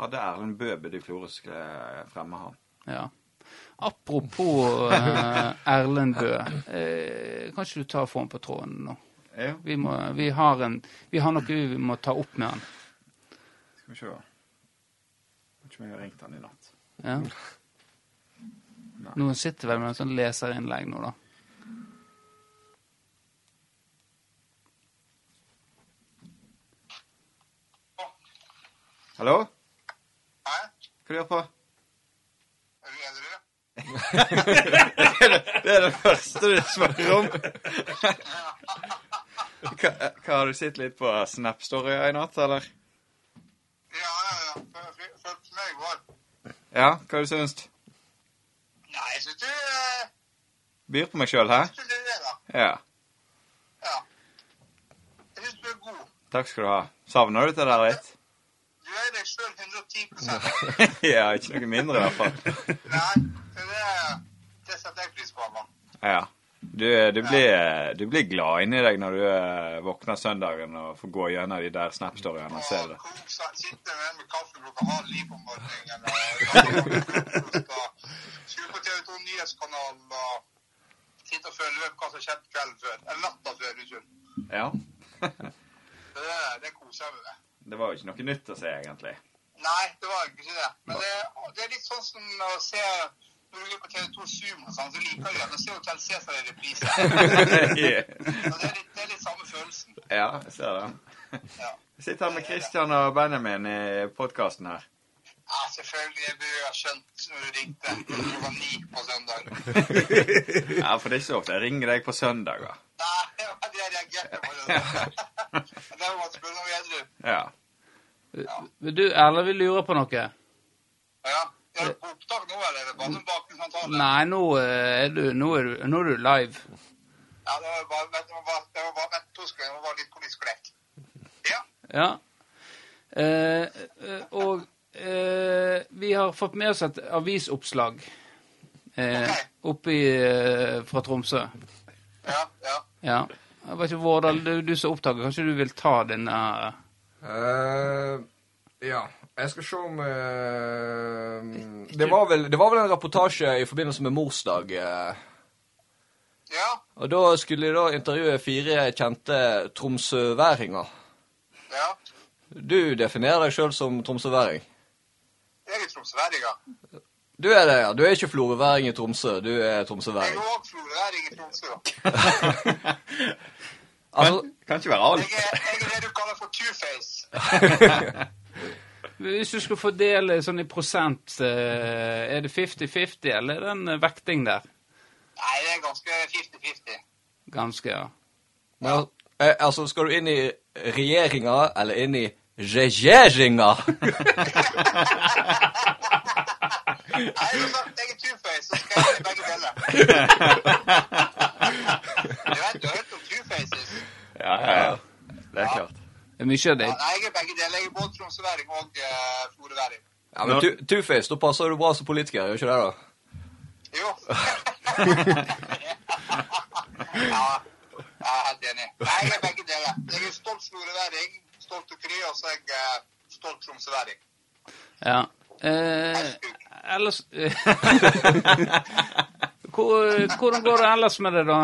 Speaker 2: Hadde Erlend Bøbed i Florø skulle eh, fremme han?
Speaker 1: Ja. Apropos øh, Erlend Bø. Eh, kan ikke du ta og få ham på tråden nå?
Speaker 2: Jo,
Speaker 1: Vi, må, vi, har en, vi har noe vi må ta opp med han.
Speaker 2: skal vi se. Jeg tror ikke om jeg har ringt han i natt.
Speaker 1: Ja. Noen sitter vel med en sånn leserinnlegg nå, da.
Speaker 2: Hallo?
Speaker 5: Hæ?
Speaker 2: Hva du gjør på?
Speaker 5: Er du edru?
Speaker 2: Det er det første du spør om. hva, hva Har du sett litt på Snap Story i natt, eller?
Speaker 5: Ja, ja, ja. Fø- fø- Følt med øyevar.
Speaker 2: Ja, hva du syns du?
Speaker 5: Nei, jeg syns du eh,
Speaker 2: Byr på meg sjøl, hæ?
Speaker 5: synes du leverer.
Speaker 2: Ja.
Speaker 5: Ja. Jeg syns du er god.
Speaker 2: Takk skal du ha. Savner du det der litt?
Speaker 5: Du er deg sjøl 110
Speaker 2: ja, ikke noe mindre i hvert fall.
Speaker 5: Nei, så det, det setter jeg pris på, mann.
Speaker 2: Ja. Du, du, blir, du blir glad inni deg når du eh, våkner søndagen og får gå gjennom de der Snap-storyene og se det.
Speaker 5: Sitter med med kaffe klokka halv ni på morgenen og skru på TV 2 Nyhetskanalen og sitte og følge med på hva som skjedde kvelden før. Eller natta før, unnskyld.
Speaker 2: Ja.
Speaker 5: Så Det, det koser jeg meg med.
Speaker 2: Det var jo ikke noe nytt å se, egentlig.
Speaker 5: Nei, det var egentlig ikke det. Men det, det er litt sånn som å se når du er på TV2 Zoom og sånn, så liker jeg gjerne å se Hotell Cæsar i reprise. Og det er litt, det er litt samme følelsen.
Speaker 2: ja, jeg ser det.
Speaker 5: Ja.
Speaker 2: Jeg sitter her med Christian og Benjamin i podkasten her.
Speaker 5: Ja, selvfølgelig. Jeg burde jo ha skjønt når du ringte klokka ni på søndag.
Speaker 2: Ja, for det er ikke så ofte jeg ringer deg på søndager.
Speaker 5: Nei, det var det jeg reagerte på. Det Det var bare å spørre om vi er edru.
Speaker 2: Ja.
Speaker 1: Men Du, Erlend, vi lurer på noe.
Speaker 5: Ja. Er du på opptak nå, eller? er det Bare en bakgrunnssamtale?
Speaker 1: Nei, nå eh, er du, nå er du, nå er du live.
Speaker 5: Ja, det var bare vent, det var bare, det var bare vent to sekunder. Det var bare litt politisk korrekt. Ja.
Speaker 1: Ja. Eh, eh, og eh, vi har fått med oss et avisoppslag eh, oppi eh, fra Tromsø.
Speaker 5: Ja. ja.
Speaker 1: Ja. Jeg vet ikke, Vårdal, du, du som opptaker, kanskje du vil ta denne
Speaker 3: Eh, ja. Jeg skal se om eh, det, var vel, det var vel en reportasje i forbindelse med morsdag. eh,
Speaker 5: Ja.
Speaker 3: og da skulle jeg da intervjue fire kjente tromsøværinger.
Speaker 5: ja.
Speaker 3: Du definerer deg sjøl som tromsøværing.
Speaker 5: Jeg er i Tromsøværing, ja.
Speaker 3: Du er det, ja. Du er ikke florøværing i Tromsø, du er
Speaker 5: Jeg
Speaker 3: tromsøværing.
Speaker 5: er òg florøværing i Tromsø.
Speaker 3: Altså,
Speaker 2: Kan ikke være
Speaker 5: Jeg
Speaker 2: alt.
Speaker 5: er, jeg er det du kaller for two-face.
Speaker 1: Hvis du skulle fordele sånn i prosent, eh, er det 50-50, eller er det en eh, vekting der?
Speaker 5: Nei, det er ganske 50-50.
Speaker 1: Ganske, ja.
Speaker 3: men, al- eh, altså, skal du inn i regjeringa, eller inn i regjeringa?
Speaker 5: Nei, jeg har sagt jeg er two-face, så skal jeg gjøre begge deler.
Speaker 1: Det er mye av det.
Speaker 5: Ja, nei, jeg er begge deler. Jeg er både tromsøværing og uh, florøværing.
Speaker 3: Ja, men Tu- Two-Face, da passer du bra som politiker, gjør ikke det, da?
Speaker 5: Jo. ja, jeg er helt enig. Nei, jeg er begge deler. Jeg er stolt florøværing, stolt ukri, og så er jeg eh, stolt tromsøværing.
Speaker 1: Ja. Eh, ellers Hvor, Hvordan går det ellers med det, da?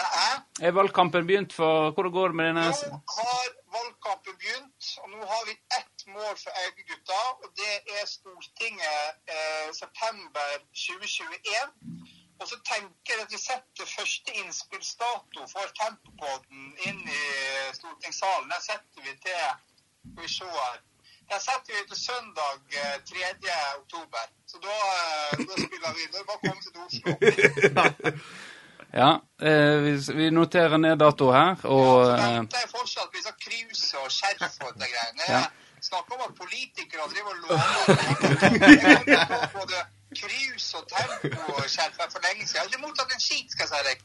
Speaker 5: Nei, hæ?
Speaker 1: Er valgkampen begynt for Hvordan går det med denne
Speaker 5: Nå har valgkampen begynt, og nå har vi ett mål for Augegutta. Og det er Stortinget eh, september 2021. Og så tenker jeg at vi setter første innspillsdato for Tempopodden inn i stortingssalen. Den setter vi til skal vi se her. Den setter vi til søndag eh, 3. oktober. Så da, eh, da spiller vi. Det er bare å komme seg til Oslo.
Speaker 1: Ja, eh, vi, vi noterer ned dato her, og
Speaker 5: Så
Speaker 1: eh,
Speaker 5: venter jeg fortsatt på disse kruse og skjerf og de greiene.
Speaker 1: Ja.
Speaker 5: Jeg snakker om at politikere driver og lover Jeg har både krus og tempo og skjerf her for lenge siden. Jeg har ikke mottatt en skit, skal jeg si deg.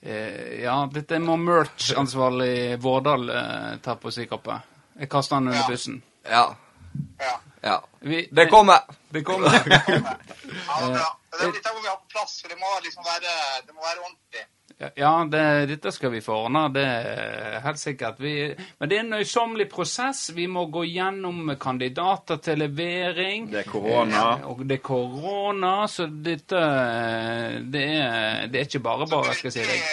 Speaker 1: eh, Ja, dette må merch-ansvarlig Vårdal eh, ta på sin kappe. Jeg kaster han under
Speaker 5: Ja.
Speaker 1: bussen.
Speaker 3: Ja.
Speaker 5: Ja.
Speaker 3: ja.
Speaker 1: Vi-
Speaker 3: Det kommer!
Speaker 1: Det kommer.
Speaker 5: Ja, det er bra. Og Det er dette må vi ha på plass, for det må liksom være, det må være ordentlig.
Speaker 1: Ja, det, dette skal vi få ordna, det er helt sikkert. Vi, men det er en nøysommelig prosess. Vi må gå gjennom kandidater til levering.
Speaker 4: Det er korona.
Speaker 1: Eh, Og det er korona, så dette eh, Det er, det er ikke bare bare, skal jeg si deg.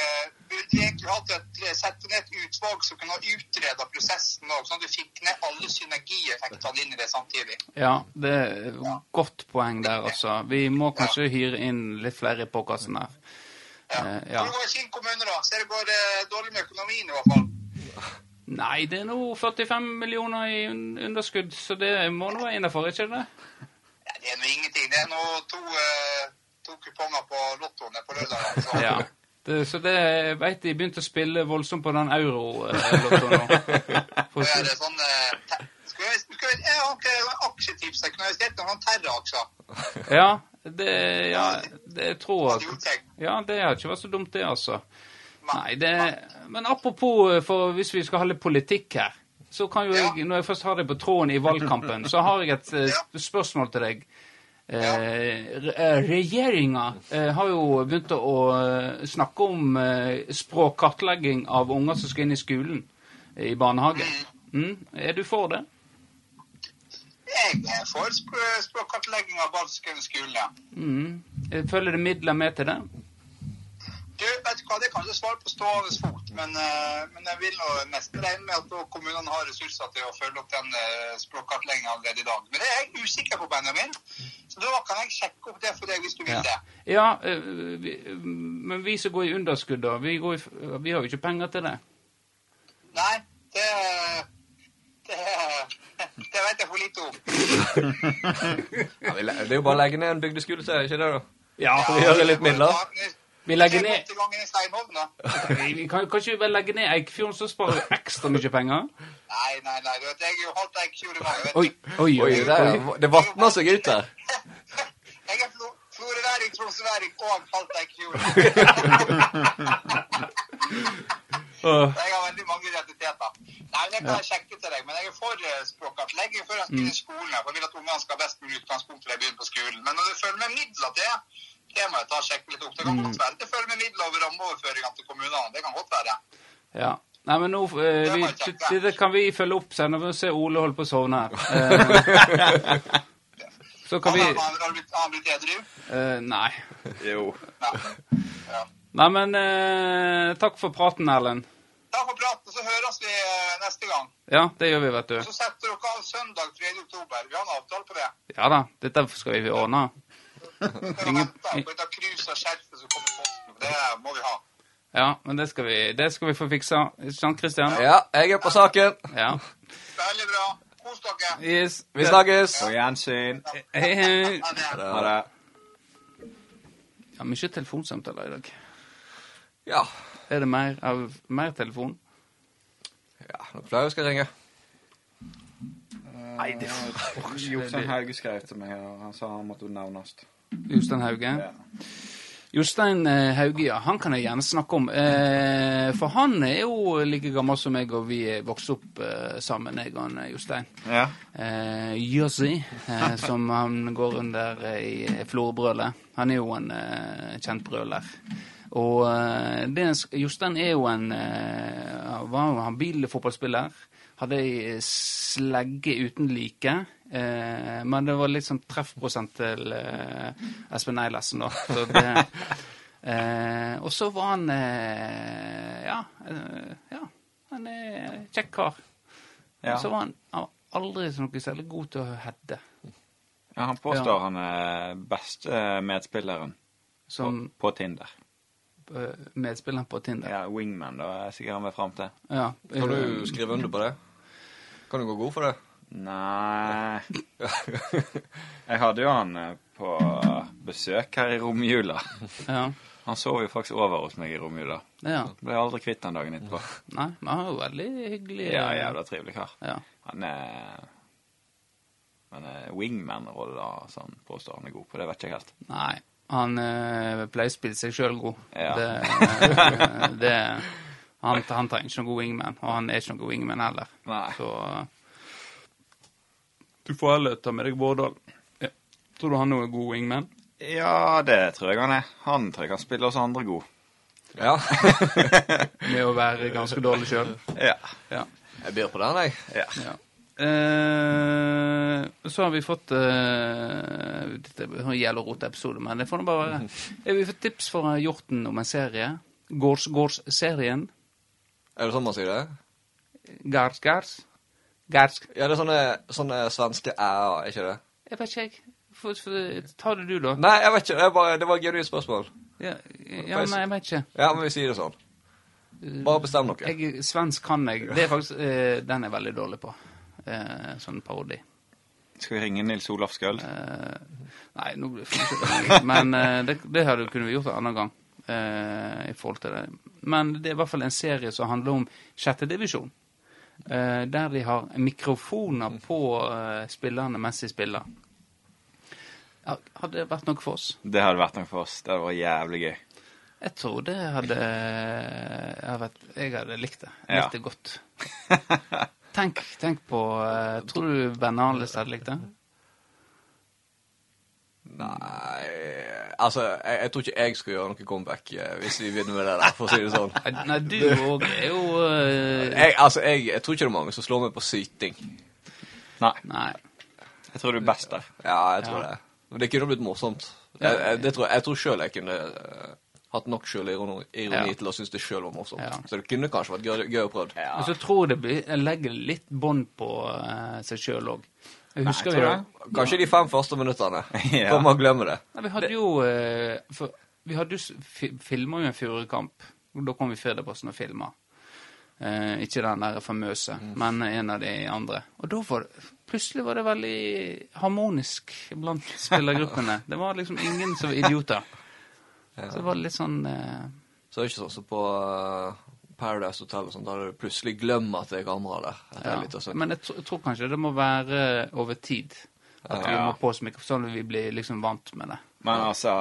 Speaker 5: Burde vi egentlig hatt et, sette ned et utvalg som kunne ha utreda prosessen òg, sånn at du fikk ned alle synergieffektene inn i det samtidig?
Speaker 1: Ja, det er et godt poeng der, altså. Vi må kanskje hyre inn litt flere i podkasten her. Eh,
Speaker 5: Ja.
Speaker 1: Ja.
Speaker 5: Hvordan går det i Kinn kommune, da? Ser det går eh, dårlig med økonomien, i hvert fall.
Speaker 1: Nei, det er nå 45 millioner i un- underskudd, så det må nå være innafor, ikke det?
Speaker 5: Ja, det er nå ingenting. Det er nå to, eh, to kuponger på lottoene på lørdag. Altså.
Speaker 1: Ja. Det, så det jeg vet de begynte å spille voldsomt på den euro-lottoen nå. For
Speaker 5: Og er
Speaker 1: å-
Speaker 5: det sånn, eh, te- skal vi, skal vi, jeg har ikke aksjetips. Jeg kunne investert i noen Terra-aksjer.
Speaker 1: Ja, det, ja, det jeg tror
Speaker 5: Hadde
Speaker 1: jeg.
Speaker 5: gjort seg.
Speaker 1: Ja, det har ikke vært så dumt, det, altså. Nei,
Speaker 5: Nei.
Speaker 1: det Men apropos, eh, for hvis vi skal holde politikk her, så kan jo jeg, når jeg først har deg på tråden i valgkampen, så har jeg et eh, sp- spørsmål til deg. Eh, Regjeringa eh, har jo begynt å eh, snakke om eh, språkkartlegging av unger som skal inn i skolen, eh, i barnehage. Mm. Er du for det?
Speaker 5: Jeg er for sp- språkkartlegging av barn som skal inn i skolen. ja.
Speaker 1: Mm. Eh, Følger det midler med til det?
Speaker 5: Du, vet du hva, det kan du svare på stående fot, men, eh, men jeg vil nå mest regne med at da kommunene har ressurser til å følge opp den eh, språkkartleggingen allerede i dag. Men det er jeg usikker på, Benjamin. Så da kan jeg sjekke opp det for deg hvis du vil det.
Speaker 1: Ja, eh, vi, men vi som går i underskudd, da, vi, går i, f- vi har jo ikke penger til det.
Speaker 5: Nei, det Det, det vet jeg for lite om.
Speaker 3: Ja, vi le- det er jo bare å legge ned en bygdeskole til, ikke det, da?
Speaker 1: Ja,
Speaker 3: vi hører litt midler.
Speaker 1: Vi legger
Speaker 5: Skjer
Speaker 1: ned
Speaker 5: godt i gangen i Steinholm, da.
Speaker 1: vi- Vi kan kanskje bare legge ned Eikfjorden, så sparer vi ekstra mye penger?
Speaker 5: Nei, nei, nei. Du vet, jeg er jo halvt eikfjord i mange, vet
Speaker 1: Oi, oi,
Speaker 3: Oi,
Speaker 1: oi.
Speaker 3: det,
Speaker 1: oi.
Speaker 3: er- det vatner seg ut der.
Speaker 5: du. Jeg er flo- floreværing, tromsøværing og halvt eikfjord. jeg har veldig mange identiteter. Nei, det kan jeg sjekke til deg. Men jeg er for eh, språkkartlegging før jeg
Speaker 1: Mm.
Speaker 5: skal inn i skolen. For jeg vil at ungene skal ha best mulig utgangspunkt før de begynner på skolen. Men når det følger med midler til det, det må jeg ta og sjekke litt opp. Det kan
Speaker 1: Mm.
Speaker 5: godt være det følger med midler over rammeoverføringene til kommunene. Det kan godt være.
Speaker 1: Ja. Nei, men nå eh, vi, Dette kan vi følge opp senere, når vi ser Ole holde på å sovne her. Eh, Så kan
Speaker 5: Han
Speaker 1: vi
Speaker 5: har- han har blitt, han har blitt edru.
Speaker 1: eh, Nei.
Speaker 4: Jo.
Speaker 5: Nei. Ja.
Speaker 1: Nei, men eh, takk for praten, Erlend.
Speaker 5: Takk for praten, så høres vi eh, neste gang.
Speaker 1: Ja, det gjør vi, vet du.
Speaker 5: Så setter dere av søndag 3. oktober. Vi har en avtale på det.
Speaker 1: Ja da, dette skal vi ordne.
Speaker 5: Dere venter på dette krus og skjerfet som kommer i posten. Det må vi ha.
Speaker 1: Ja, men det skal vi, det skal vi få fiksa. Ikke sant, Christian?
Speaker 3: Ja, jeg er på saken.
Speaker 1: Ja.
Speaker 5: Veldig bra. Kos dere.
Speaker 1: Yes.
Speaker 3: Vi snakkes.
Speaker 4: På gjensyn.
Speaker 1: Hei, hei.
Speaker 5: Ha det.
Speaker 4: Ha det.
Speaker 1: Ja, mye telefonsamtaler i dag.
Speaker 3: Ja.
Speaker 1: Er det mer, av, mer telefon?
Speaker 3: ja nå pleier jeg å skal ringe.
Speaker 4: Nei, det Jostein Hauge skrev til meg, og han sa han måtte nevnes.
Speaker 1: Jostein Hauge?
Speaker 4: Ja.
Speaker 1: Jostein eh, Hauge, ja. Han kan jeg gjerne snakke om. Eh, for han er jo like gammel som meg, og vi vokste opp eh, sammen, jeg og han, eh, Jostein.
Speaker 4: Ja.
Speaker 1: Eh, Jossi, eh, som han går under eh, i Florøbrølet. Han er jo en eh, kjent brøler. Og eh, det, er en sk- Jostein er jo en eh, var jo han bilfotballspiller. Hadde ei slegge uten like. Eh, men det var litt sånn treffprosent til eh, Espen Eilertsen, da. Så det, eh, og så var han eh, ja, eh, ja. Han er en kjekk kar.
Speaker 2: Ja.
Speaker 1: Så var han, han var aldri så noe særlig god til å heade.
Speaker 2: Ja, han påstår han er beste medspilleren
Speaker 1: Som
Speaker 2: på, på Tinder.
Speaker 1: eh, medspiller på Tinder. Ja.
Speaker 2: Ja, Wingman, da er sikkert han vil fram til.
Speaker 3: Kan
Speaker 1: eh,
Speaker 3: du skrive under på det? Kan du gå god for det?
Speaker 2: Nei Jeg hadde jo han eh, på besøk her i romjula.
Speaker 1: ja.
Speaker 2: Han sov jo faktisk over hos meg i romjula.
Speaker 1: ja.
Speaker 2: Ble aldri kvitt han dagen etterpå.
Speaker 1: Nei, men han er jo veldig hyggelig.
Speaker 2: Ja, jævla trivelig kar.
Speaker 1: Ja.
Speaker 2: Han er Han er wingman-rolle, da, som han påstår han er god på. Det vet jeg ikke helt.
Speaker 1: Nei. Han eh, pleier å spille seg sjøl god.
Speaker 2: Ja.
Speaker 1: Det, eh, det, han, han trenger ikke noen god wingman, og han er ikke noen god wingman heller.
Speaker 2: Nei.
Speaker 1: Så eh, Du får heller ta med deg Vårdal. Ja. Tror du han er god wingman?
Speaker 2: Ja, det tror jeg han er. Han tror jeg kan spille oss andre god.
Speaker 3: Ja.
Speaker 1: Med å være ganske dårlig sjøl?
Speaker 2: Ja.
Speaker 1: Ja.
Speaker 3: Jeg byr på den, jeg.
Speaker 1: Ja. Eh, så har vi fått eh, Dette er en jævla roteepisode, men det får nå bare være. Eh, Vi får tips fra Hjorten om en serie. Gårds- Gårds-serien.
Speaker 3: Er det sånn man sier det?
Speaker 1: Gards, gards. Gards.
Speaker 3: Ja, det er sånne, sånne svenske æ-er, ikke det?
Speaker 1: Jeg vet ikke, jeg. Få- få- ta det du, da.
Speaker 3: Nei, jeg vet ikke. Det, er bare, det var et genuint spørsmål.
Speaker 1: Ja, ja, nei, jeg vet ikke.
Speaker 3: Ja, men vi sier det sånn. Bare bestem dere.
Speaker 1: Jeg, svensk kan jeg. Det er faktisk, eh, den er jeg veldig dårlig på. Eh, sånn parodi.
Speaker 2: Skal vi ringe Nils Olaf Skøld?
Speaker 1: Eh, nei, nå blir det ikke Men eh, det, det hadde, kunne vi gjort en annen gang. eh, I forhold til det. Men det er i hvert fall en serie som handler om sjettedivisjon. Uh, der de har mikrofoner på eh, spillerne mens de spiller. Ja, hadde det vært noe for oss?
Speaker 2: Det hadde vært noe for oss. Det hadde vært jævlig gøy.
Speaker 1: Jeg tror det hadde Jeg, vet, jeg hadde likt det. Jeg
Speaker 2: Ja.
Speaker 1: likte det godt. Tenk, tenk på eh, Tror du Bernales hadde likt det?
Speaker 3: Nei Altså, jeg, jeg tror ikke jeg skulle gjøre noe comeback eh, hvis vi begynner med det der, for å si det sånn.
Speaker 1: Nei, Nei, du òg er jo eh,
Speaker 3: Jeg, altså, jeg, jeg tror ikke det er mange som slår meg på syting.
Speaker 2: Nei,
Speaker 1: Nei.
Speaker 2: jeg tror du er best der.
Speaker 3: Ja, jeg tror
Speaker 1: Ja.
Speaker 3: det. Men det kunne blitt morsomt. Jeg, jeg, det tror, jeg tror sjøl jeg kunne eh, hatt nok sjølironi ironi
Speaker 1: Ja.
Speaker 3: til å synes det sjøl var morsomt.
Speaker 1: Ja.
Speaker 3: Så det kunne kanskje vært gøy, gøy å prøve.
Speaker 1: Men så tror jeg det blir, jeg legger litt bånd på eh, seg sjøl òg. Husker vi det?
Speaker 3: Kanskje de fem første minuttene.
Speaker 2: Ja.
Speaker 3: Kommer og glemmer det.
Speaker 1: Nei, vi hadde jo eh, for, Vi hadde jo s- fi- filma jo en furukamp. Da kom vi Firdaposten og filma. Eh, ikke den der famøse, men en av de andre. Og da var det Plutselig var det veldig harmonisk blant spillergruppene. Det var liksom ingen som var idioter. Så det var litt sånn eh,
Speaker 3: Så det er ikke sånn som på eh, Paradise Hotel og sånn, da du plutselig glemmer at det er kamera der. Etter
Speaker 1: Ja.
Speaker 3: en liten stund.
Speaker 1: Men jeg, tr jeg tror kanskje det må være over tid. At vi
Speaker 2: Ja.
Speaker 1: må på oss mikrofonen, sånn at vi blir liksom vant med det.
Speaker 2: Men altså,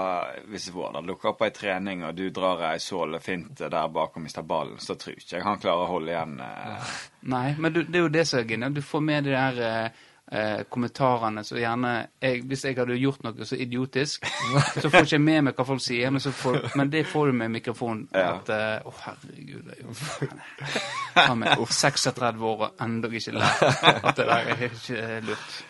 Speaker 2: hvis Vårdal dukker opp på ei trening, og du drar ei sålefinte der bak og mister ballen, så tror ikke jeg han klarer å holde igjen eh,
Speaker 1: Nei, men du, det er jo det som er genialt. Du får med de der eh, eh, kommentarene så gjerne jeg, Hvis jeg hadde gjort noe så idiotisk, så får ikke jeg med meg hva folk sier, men, så får, men det får du med mikrofonen.
Speaker 2: Ja.
Speaker 1: At eh, Å, herregud, jeg gjorde faen. Han er 36 år og ennå ikke lært at det der er ikke lurt.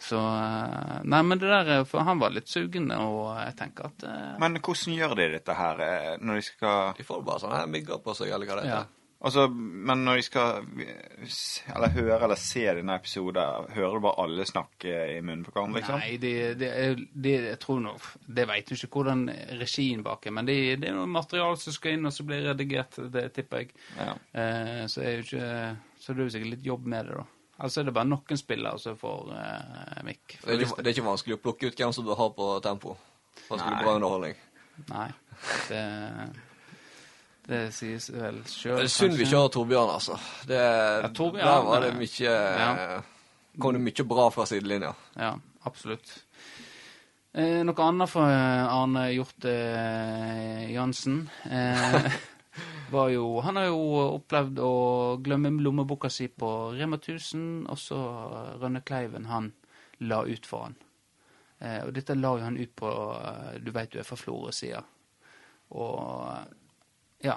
Speaker 1: Så eh, Nei, men det der eh, For han var litt sugende, og jeg tenker at eh,
Speaker 2: Men hvordan gjør de dette her eh, når de skal
Speaker 3: De får bare sånne her migger på seg, eller hva det
Speaker 1: ja.
Speaker 3: heter.
Speaker 2: Altså, men når de skal eh, s- eller høre eller se denne episoden, hører du bare alle snakke i munnen på hverandre, liksom?
Speaker 1: Nei, det, det, er- det, jeg tror nå Det veit du ikke hvordan regien bak er, men det, det er noe materiale som skal inn, og så blir redigert, det tipper jeg.
Speaker 2: Ja.
Speaker 1: Eh, så, er jo ikke, så det er jo sikkert litt jobb med det, da. Altså er det bare noen spillere som får eh, mikk.
Speaker 3: Det er, ikke, det er ikke vanskelig å plukke ut hvem som bør ha på tempo. Vanskelig bra underholdning.
Speaker 1: Nei. Det, det sies vel sjøl.
Speaker 3: Det er synd vi ikke har Torbjørn, altså. Det,
Speaker 1: Torbjørn,
Speaker 3: der var det
Speaker 1: eh,
Speaker 3: mye
Speaker 1: ja.
Speaker 3: Kom det mye bra fra sidelinja.
Speaker 1: Ja, absolutt. Eh, Eh, noe annet for eh, Arne Hjort eh, Jansen eh, var jo Han har jo opplevd å glemme lommeboka si på Rema 1000, og så Rønne Kleiven han la ut for han. Eh, og dette la jo han ut på eh, Du veit du er fra Florø-sida. Og eh, ja.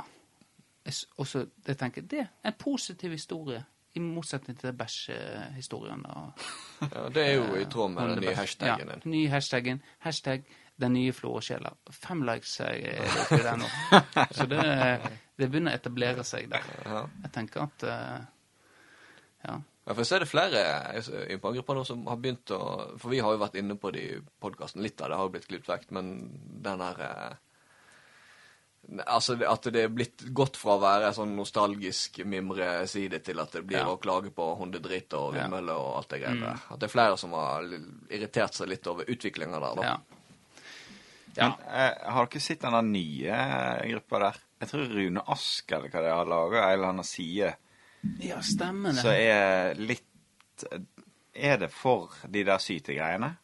Speaker 1: Jeg s- Og så jeg tenker det er en positiv historie, i motsetning til bæsjehistorien. og-
Speaker 3: Ja, det er jo i tråd med den nye hashtaggen
Speaker 1: ja,
Speaker 3: din.
Speaker 1: ny hashtaggen. Hashtag den nye florøsjela. Fem likes er jeg oppi der nå. Så det, det begynner å etablere seg der.
Speaker 3: Ja.
Speaker 1: Jeg tenker at eh, Ja.
Speaker 3: Ja, for jeg ser det flere i på gruppa nå som har begynt å For vi har jo vært inne på det i podkasten. Litt av det har jo blitt klippet vekk, men den her eh, Altså det- at det er blitt gått fra å være en sånn nostalgisk mimreside til at det blir
Speaker 1: Ja.
Speaker 3: å klage på hundedrit og
Speaker 1: Ja. Mm.
Speaker 3: vindmøller og alt det greiene der. At det er flere som har l- irritert seg litt over utviklinga der, da.
Speaker 1: ja.
Speaker 2: Men, eh, har dere sett den der nye eh, gruppa der? Jeg tror Rune Ask eller hva det er, har laga en eller annen side
Speaker 1: Ja, stemmer
Speaker 2: som
Speaker 1: det.
Speaker 2: er litt Er det for de der sytegreiene?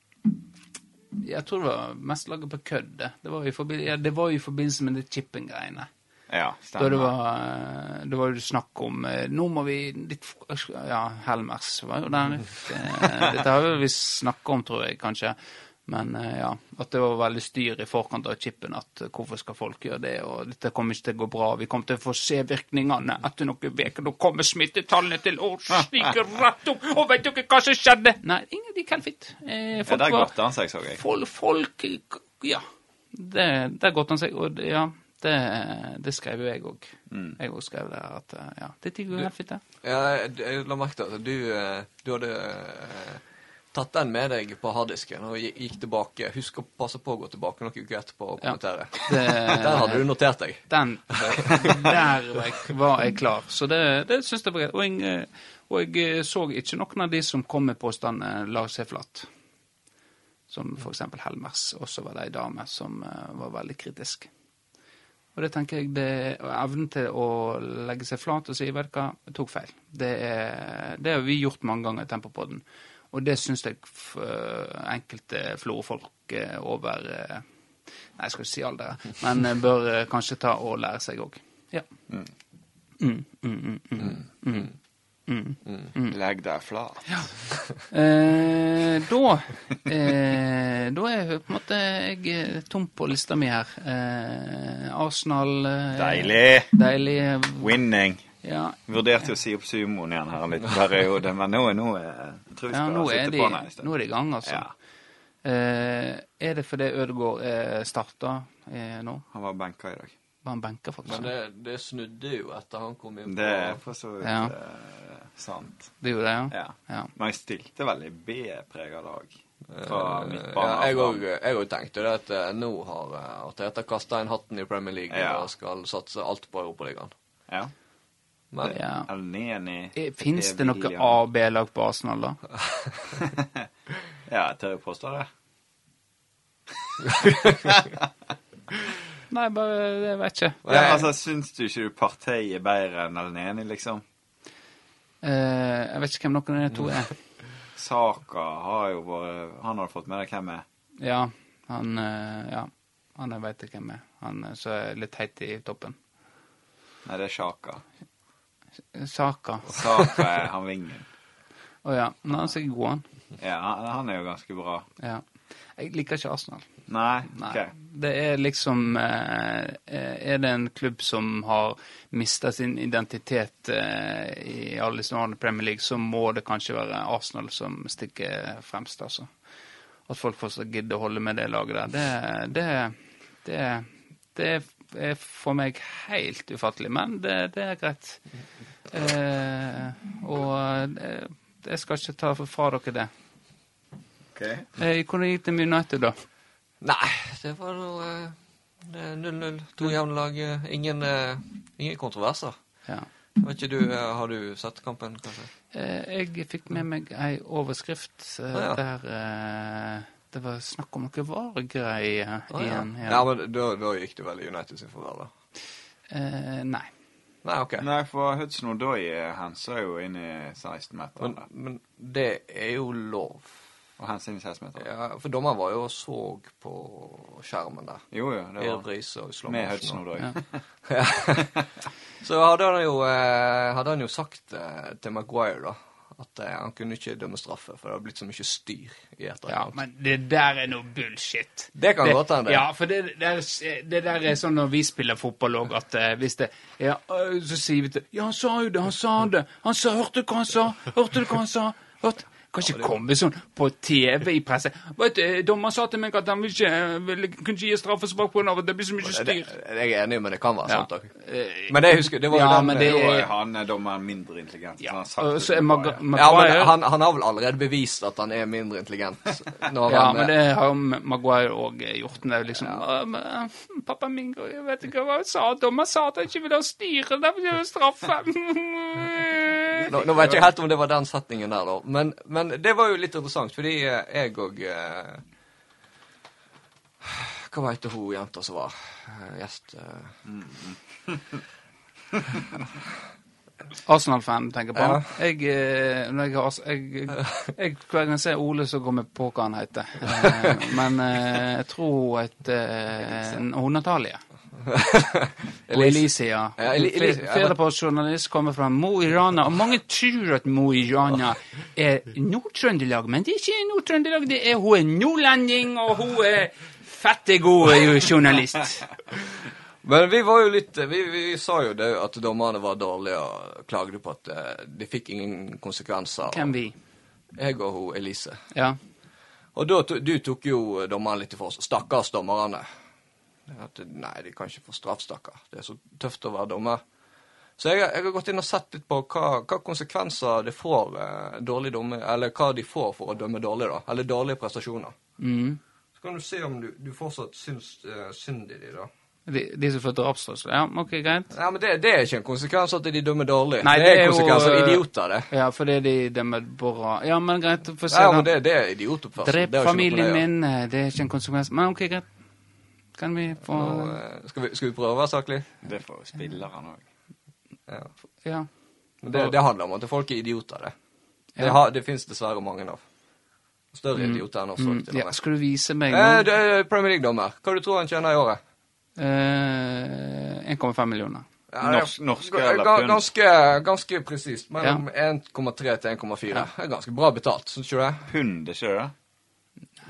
Speaker 1: Jeg tror det var mest laget på kødd. det. Det var jo i forbi- ja, det var jo i forbindelse med det chipping-greiene.
Speaker 2: Ja,
Speaker 1: Da
Speaker 2: stemmer.
Speaker 1: det var, eh, det var jo snakk om eh, Nå må vi litt f- Ja, Helmers var jo der. Eh, Dette har jo vi snakka om, tror jeg, kanskje. Men eh, ja, at det var veldig styr i forkant av chipen. At eh, hvorfor skal folk gjøre det, og dette kommer ikke til å gå bra. Vi kommer til å få se virkningene etter noen uker. Nå kommer smittetallene til å stige rett opp. Og vet dere hva som skjedde? Nei, ingen gikk helt fint. Eh,
Speaker 2: ja,
Speaker 1: folk
Speaker 2: Der
Speaker 1: var-
Speaker 2: godte han seg, så jeg.
Speaker 1: Fol- folk Ja. Det, der godte han seg. Og det- ja, det, det skrev jo jeg òg. Jeg òg skrev det at eh, ja, det tigger jo helt fint, det.
Speaker 3: Ja, jeg, jeg la merke til at du, eh, du hadde eh, tatt den med deg på harddisken og gi- gikk tilbake. Husk å passe på å gå tilbake noen uker etterpå og
Speaker 1: Ja.
Speaker 3: kommentere.
Speaker 1: Det-
Speaker 3: Den hadde du notert deg.
Speaker 1: Den eh, Der var jeg, var jeg klar. Så det, det syns jeg var greit. Og jeg, eh, og jeg eh, så ikke noen av de som kom med påstanden la seg flatt. Som for eksempel Helmers. Også var det ei dame som eh, var veldig kritisk. Og det tenker jeg det og Evnen til å legge seg flat og si vet du hva, jeg tok feil. Det, er, det har vi gjort mange ganger i Tempopodden. Og det syns jeg f eh, enkelte florfolk eh, over eh, Nei, jeg skal ikke si alder, men eh, bør eh, kanskje ta og lære seg òg. Ja. Mm, mm, mm, mm.
Speaker 2: Legg deg flat.
Speaker 1: Eh, da eh, Da er jeg på en måte jeg er tom på lista mi her. Eh, Arsenal eh,
Speaker 2: Deilig!
Speaker 1: Deilig. eh,
Speaker 2: Winning.
Speaker 1: Ja,
Speaker 2: Vurderte jo å si opp sumoen igjen her en liten periode, men nå, nå er jeg tror vi
Speaker 1: ja
Speaker 2: skal
Speaker 1: nå, er
Speaker 2: sitte
Speaker 1: de,
Speaker 2: på den en stund.
Speaker 1: nå er de i gang, altså.
Speaker 2: Ja.
Speaker 1: Eh, er det fordi Ødegaard eh, starta eh, nå?
Speaker 2: Han var benka i dag.
Speaker 1: Var han benka, faktisk?
Speaker 3: Men
Speaker 1: Det,
Speaker 3: det, det snudde jo etter han kom inn på
Speaker 2: Det er for så vidt
Speaker 1: Ja.
Speaker 2: eh, sant.
Speaker 1: gjorde det, ja?
Speaker 2: Ja. Men jeg stilte veldig B-prega lag fra
Speaker 3: Eh, ja,
Speaker 2: midtbanen.
Speaker 3: jeg
Speaker 2: av.
Speaker 3: òg jeg òg tenkte det at eh, nå har eh, Arteta kasta inn hatten i Premier League
Speaker 2: Ja.
Speaker 3: og skal satse alt på Europaligaen.
Speaker 2: Ja.
Speaker 1: ja.
Speaker 3: Men
Speaker 1: ja.
Speaker 2: Elneny
Speaker 1: Fins det noe A- og B-lag på Arsenal, da?
Speaker 2: Ja, jeg tør jo påstå det.
Speaker 1: Nei, bare Jeg vet ikke.
Speaker 2: Ja, altså, Syns du ikke du Partey er bedre enn Elneny, liksom?
Speaker 1: Eh, jeg vet ikke hvem noen av de to er.
Speaker 2: Saka har jo vært Han har fått med deg hvem er?
Speaker 1: Ja, han eh, Ja, han jeg veit ikke hvem er. Han eh, som er litt heit i toppen.
Speaker 2: Nei, det er Sjaka.
Speaker 1: Saka.
Speaker 2: Saka er han vingen.
Speaker 1: Å ja. Men han er sikkert god, han.
Speaker 2: Ja, han, han er jo ganske bra.
Speaker 1: Ja. Jeg liker ikke Arsenal.
Speaker 2: Nei?
Speaker 1: Nei.
Speaker 2: ok.
Speaker 1: Det er liksom eh, eh, Er det en klubb som har mista sin identitet eh, i alle disse årene i Premier League, så må det kanskje være Arsenal som stikker fremst, altså. At folk fortsatt gidder å holde med det laget der, det, det, det, det er for meg helt ufattelig. Men det, det er greit. Eh, og eh, jeg skal ikke ta fra dere det.
Speaker 4: Ok.
Speaker 1: Eh, Hvordan gikk det med United, da?
Speaker 3: Nei, det var nå eh, det er 0-0. To jevne lag. eh, Ingen, eh, ingen kontroverser.
Speaker 1: Ja.
Speaker 3: Vet ikke du, eh, Har du sett kampen, kanskje?
Speaker 1: Eh, Jeg fikk med meg ei overskrift eh,
Speaker 3: Ah, ja.
Speaker 1: der eh, det var snakk om noe vargreier
Speaker 3: Å, ja.
Speaker 1: igjen.
Speaker 3: ja, men da, da gikk det vel i United sin favør, da.
Speaker 1: Eh, nei.
Speaker 3: Nei, OK.
Speaker 2: Nei, for Hudson Odoi henser jo inn i
Speaker 3: Men,
Speaker 2: 16-meteren.
Speaker 3: men det er jo lov.
Speaker 4: Og hensyn i 6 meter.
Speaker 3: Ja, for dommeren var jo og så på skjermen der.
Speaker 4: Jo, jo.
Speaker 3: I
Speaker 4: Det var
Speaker 3: reprise og i slow
Speaker 4: med
Speaker 3: motion
Speaker 4: Hudson
Speaker 3: og-
Speaker 4: og Doy.
Speaker 3: Ja. så hadde han jo, eh, hadde han jo sagt eh, til Maguire da, at eh, han kunne ikke dømme straffe, for det hadde blitt så mye styr i
Speaker 1: Ja,
Speaker 3: etterkant.
Speaker 1: men det der er noe bullshit.
Speaker 3: Det kan godt hende.
Speaker 1: Ja, for det, det, er, det der er sånn når vi spiller fotball òg, at eh, hvis det ja, øh, Så sier vi til Ja, han sa jo det, han sa det. Han sa Hørte du hva han sa? Hørte du hva han sa? Hørte kan ikke komme sånn på TV i presse. Vet du, eh, Dommer sa til meg at han vil ikke, vil, kunne ikke gi straffespark pga. at det blir så mye
Speaker 3: Det- det-
Speaker 1: styr.
Speaker 3: Jeg er enig, men det kan være
Speaker 1: Ja.
Speaker 3: sant òg.
Speaker 1: Eh,
Speaker 3: Men det husker det var jo
Speaker 1: Ja,
Speaker 3: den,
Speaker 1: men
Speaker 4: Da
Speaker 1: det-
Speaker 4: er han eh, dommeren mindre intelligent.
Speaker 1: ja.
Speaker 4: han har sagt
Speaker 1: Og
Speaker 4: det
Speaker 1: så er
Speaker 4: til
Speaker 1: Mag-
Speaker 4: Maguire.
Speaker 3: ja,
Speaker 1: Maguire
Speaker 3: men han, han har vel allerede bevist at han er mindre intelligent. Når
Speaker 1: Ja,
Speaker 3: han,
Speaker 1: men
Speaker 3: eh,
Speaker 1: det har jo Maguire òg gjort. men Det er jo liksom «Å, men, eh, 'Pappa min, jeg vet ikke hva han sa. Dommer sa at han ikke ville ha styre. Derfor vil jeg straffe.
Speaker 3: eh, nå, nå vet jeg helt om det var den setningen der, da. Men, men det var jo litt interessant, fordi eh, jeg òg eh, Hva var det hun jenta som var eh, gjest? eh,
Speaker 1: Arsenal-fan tenker på
Speaker 3: Ja.
Speaker 1: han. Jeg, eh, når jeg, har Ars- jeg, jeg, jeg Hver gang jeg ser Ole, så går vi på hva han heter. Eh, Men eh, jeg tror hun heter eh, hun Natalie.
Speaker 3: eh.
Speaker 1: Og Elisia.
Speaker 3: Ja, Eli- Eli-
Speaker 1: Fler- Flere på journalist kommer fra Mo i Rana. Og mange tror at Mo i Rana er Nord-Trøndelag, men det er ikke Nord-Trøndelag. det er Hun er nordlending, og hun er fette god eh, journalist.
Speaker 3: Men vi var jo litt eh, Vi, vi sa jo det at dommerne var dårlige og klagde på at eh, de fikk ingen konsekvenser.
Speaker 1: Hvem vi?
Speaker 3: Jeg og hun Elise.
Speaker 1: Ja.
Speaker 3: Og da, to- du tok jo eh, dommeren litt for oss. Stakkars dommerne. At, nei, de kan ikke få straff, stakkar. Det er så tøft å være dommer. Så jeg, jeg har gått inn og sett litt på hva, hva konsekvenser det får eh, dårlig domme, eller hva de får for å dømme dårlig, da. Eller dårlige prestasjoner.
Speaker 1: Mm.
Speaker 3: Så kan du se om du, du fortsatt syns eh, synd i de, da.
Speaker 1: De, de som får drapstrusler. Ja, OK, greit.
Speaker 3: Nei, men det, det er ikke en konsekvens at de dømmer dårlig.
Speaker 1: Nei,
Speaker 3: det,
Speaker 1: det
Speaker 3: er
Speaker 1: er jo,
Speaker 3: konsekvenser av
Speaker 1: eh,
Speaker 3: idioter, det.
Speaker 1: Ja, fordi de dømmer bra. Ja, men greit. Få se,
Speaker 3: Nei, men
Speaker 1: da.
Speaker 3: det, det er idiotoppførsel.
Speaker 1: Drep
Speaker 3: Det har ikke noe med
Speaker 1: familien
Speaker 3: det å gjøre.
Speaker 1: min. eh, Det er ikke en konsekvens. Men OK, greit. Kan vi få
Speaker 3: Nå, eh, skal, vi, skal vi prøve å være saklig?
Speaker 4: Det får spilleren òg.
Speaker 3: Ja.
Speaker 1: Ja.
Speaker 3: Men Det, det handler om at folk er idioter, det. Det,
Speaker 1: Ja.
Speaker 3: har, det fins dessverre mange av. Større idioter enn oss.
Speaker 1: Mm,
Speaker 3: også, til og
Speaker 1: ja.
Speaker 3: med.
Speaker 1: Skal du vise meg
Speaker 3: Eh,
Speaker 1: nå?
Speaker 3: det er Premier League-dommer, hva du tror han tjener i året?
Speaker 1: Eh, 1,5 millioner.
Speaker 3: Ja, det er-
Speaker 4: Norsk- norske
Speaker 3: ga-
Speaker 4: eller
Speaker 3: ga-
Speaker 4: pund?
Speaker 3: Ganske, ganske presist. Mellom 1,3 til 1,4. Det er ganske bra betalt, syns ikke du det?
Speaker 4: Pund, ikke det?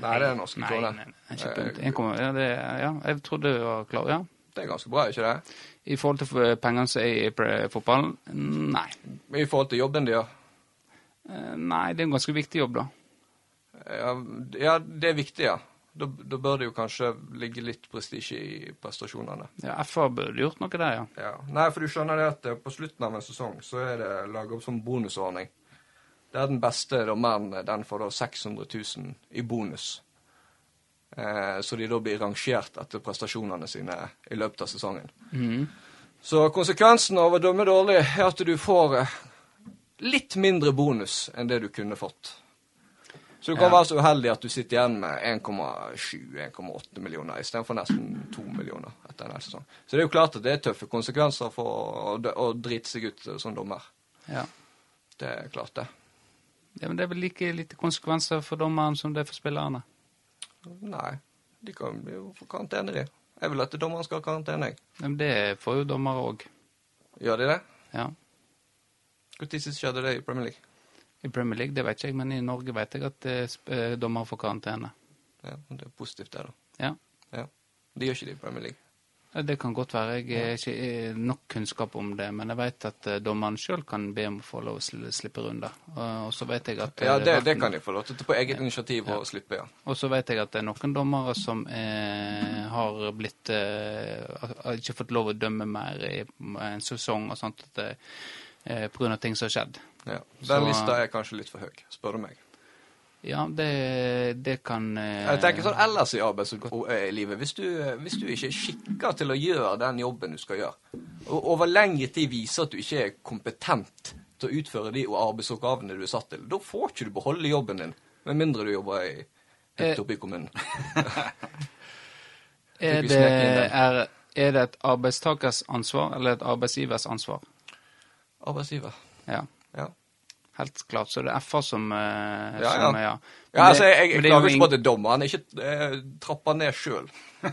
Speaker 3: Nei, det er norske
Speaker 1: Nei,
Speaker 3: kroner. Eh,
Speaker 1: nei, nei, ikke pund. 1,5 ja, det er- ja, jeg trodde det var klart, ja.
Speaker 3: Det er ganske bra, er ikke det?
Speaker 1: I forhold til eh, pengene som er i pre- fotballen? mm, Nei.
Speaker 3: I forhold til jobben de gjør.
Speaker 1: Eh, Nei, det er en ganske viktig jobb, da.
Speaker 3: Ja, d- ja, det er viktig, ja. Da, da bør det jo kanskje ligge litt prestisje i prestasjonene.
Speaker 1: Ja, FA burde gjort noe der, ja.
Speaker 3: Ja. Nei, for du skjønner det at eh, på slutten av en sesong så er det laget opp som bonusordning. Det er den beste dommeren, eh, den får da 600 000 i bonus. Eh, så de da blir rangert etter prestasjonene sine i løpet av sesongen. Så konsekvensen av å dømme dårlig er at du får eh, litt mindre bonus enn det du kunne fått. Så du kan være så uheldig at du sitter igjen med 1,7-1,8 millioner istedenfor nesten 2 millioner etter en hel sesong. Så det er jo klart at det er tøffe konsekvenser for å, dø- å drite seg ut som dommer.
Speaker 1: ja.
Speaker 3: Det er klart, det.
Speaker 1: Ja, men Det er vel like lite konsekvenser for dommeren som det er for spillerne.
Speaker 3: Nei, de kan bli jo for karantene, de. Jeg vil at dommeren skal ha karantene, jeg.
Speaker 1: Ja, Men det får jo dommere òg.
Speaker 3: Gjør de det?
Speaker 1: Ja.
Speaker 3: Når sist skjedde det i Premier League?
Speaker 1: I Premier League det vet ikke jeg, men i Norge vet jeg at eh, sp- eh, dommere får karantene.
Speaker 3: Ja, Det er positivt, det, da.
Speaker 1: Ja.
Speaker 3: Ja. De gjør ikke det i Premier League.
Speaker 1: Ja, Det kan godt være. Jeg har ikke eh, nok kunnskap om det, men jeg vet at eh, dommeren sjøl kan be om å få lov å sli- slippe runder. Og- Og så vet jeg at eh,
Speaker 3: Ja, det, det
Speaker 1: verken-
Speaker 3: kan de få lov til på eget initiativ å slippe, ja.
Speaker 1: Og så vet jeg at det er noen dommere som eh, har blitt eh, har- har ikke fått lov å dømme mer i en sesong og sånt at, eh, på grunn av ting som har skjedd.
Speaker 3: ja. Den
Speaker 1: Så-
Speaker 3: lista er kanskje litt for høy, spør du meg.
Speaker 1: Ja, det, det kan eh,
Speaker 3: Jeg tenker sånn ellers i arbeids- og eh, livet. Hvis du, hvis du ikke er skikka til å gjøre den jobben du skal gjøre, og over lengre tid viser at du ikke er kompetent til å utføre de arbeidsoppgavene du er satt til, da får ikke du beholde jobben din. Med mindre du jobber i,
Speaker 1: Eh.
Speaker 3: høyt oppe i kommunen.
Speaker 1: Er
Speaker 3: vi
Speaker 1: det,
Speaker 3: snekke inn den.
Speaker 1: er, er det et arbeidstakers ansvar eller et arbeidsgivers ansvar?
Speaker 3: Arbeidsgiver.
Speaker 1: Ja.
Speaker 3: Ja.
Speaker 1: Helt klart. Så det er FA som, eh,
Speaker 3: Ja,
Speaker 1: som
Speaker 3: ja.
Speaker 1: eh, ja. Men
Speaker 3: Ja, altså,
Speaker 1: det-
Speaker 3: jeg, jeg
Speaker 1: men det er jo
Speaker 3: klager ikke på
Speaker 1: ing-
Speaker 3: at det er dommeren ikke eh, trapper ned sjøl.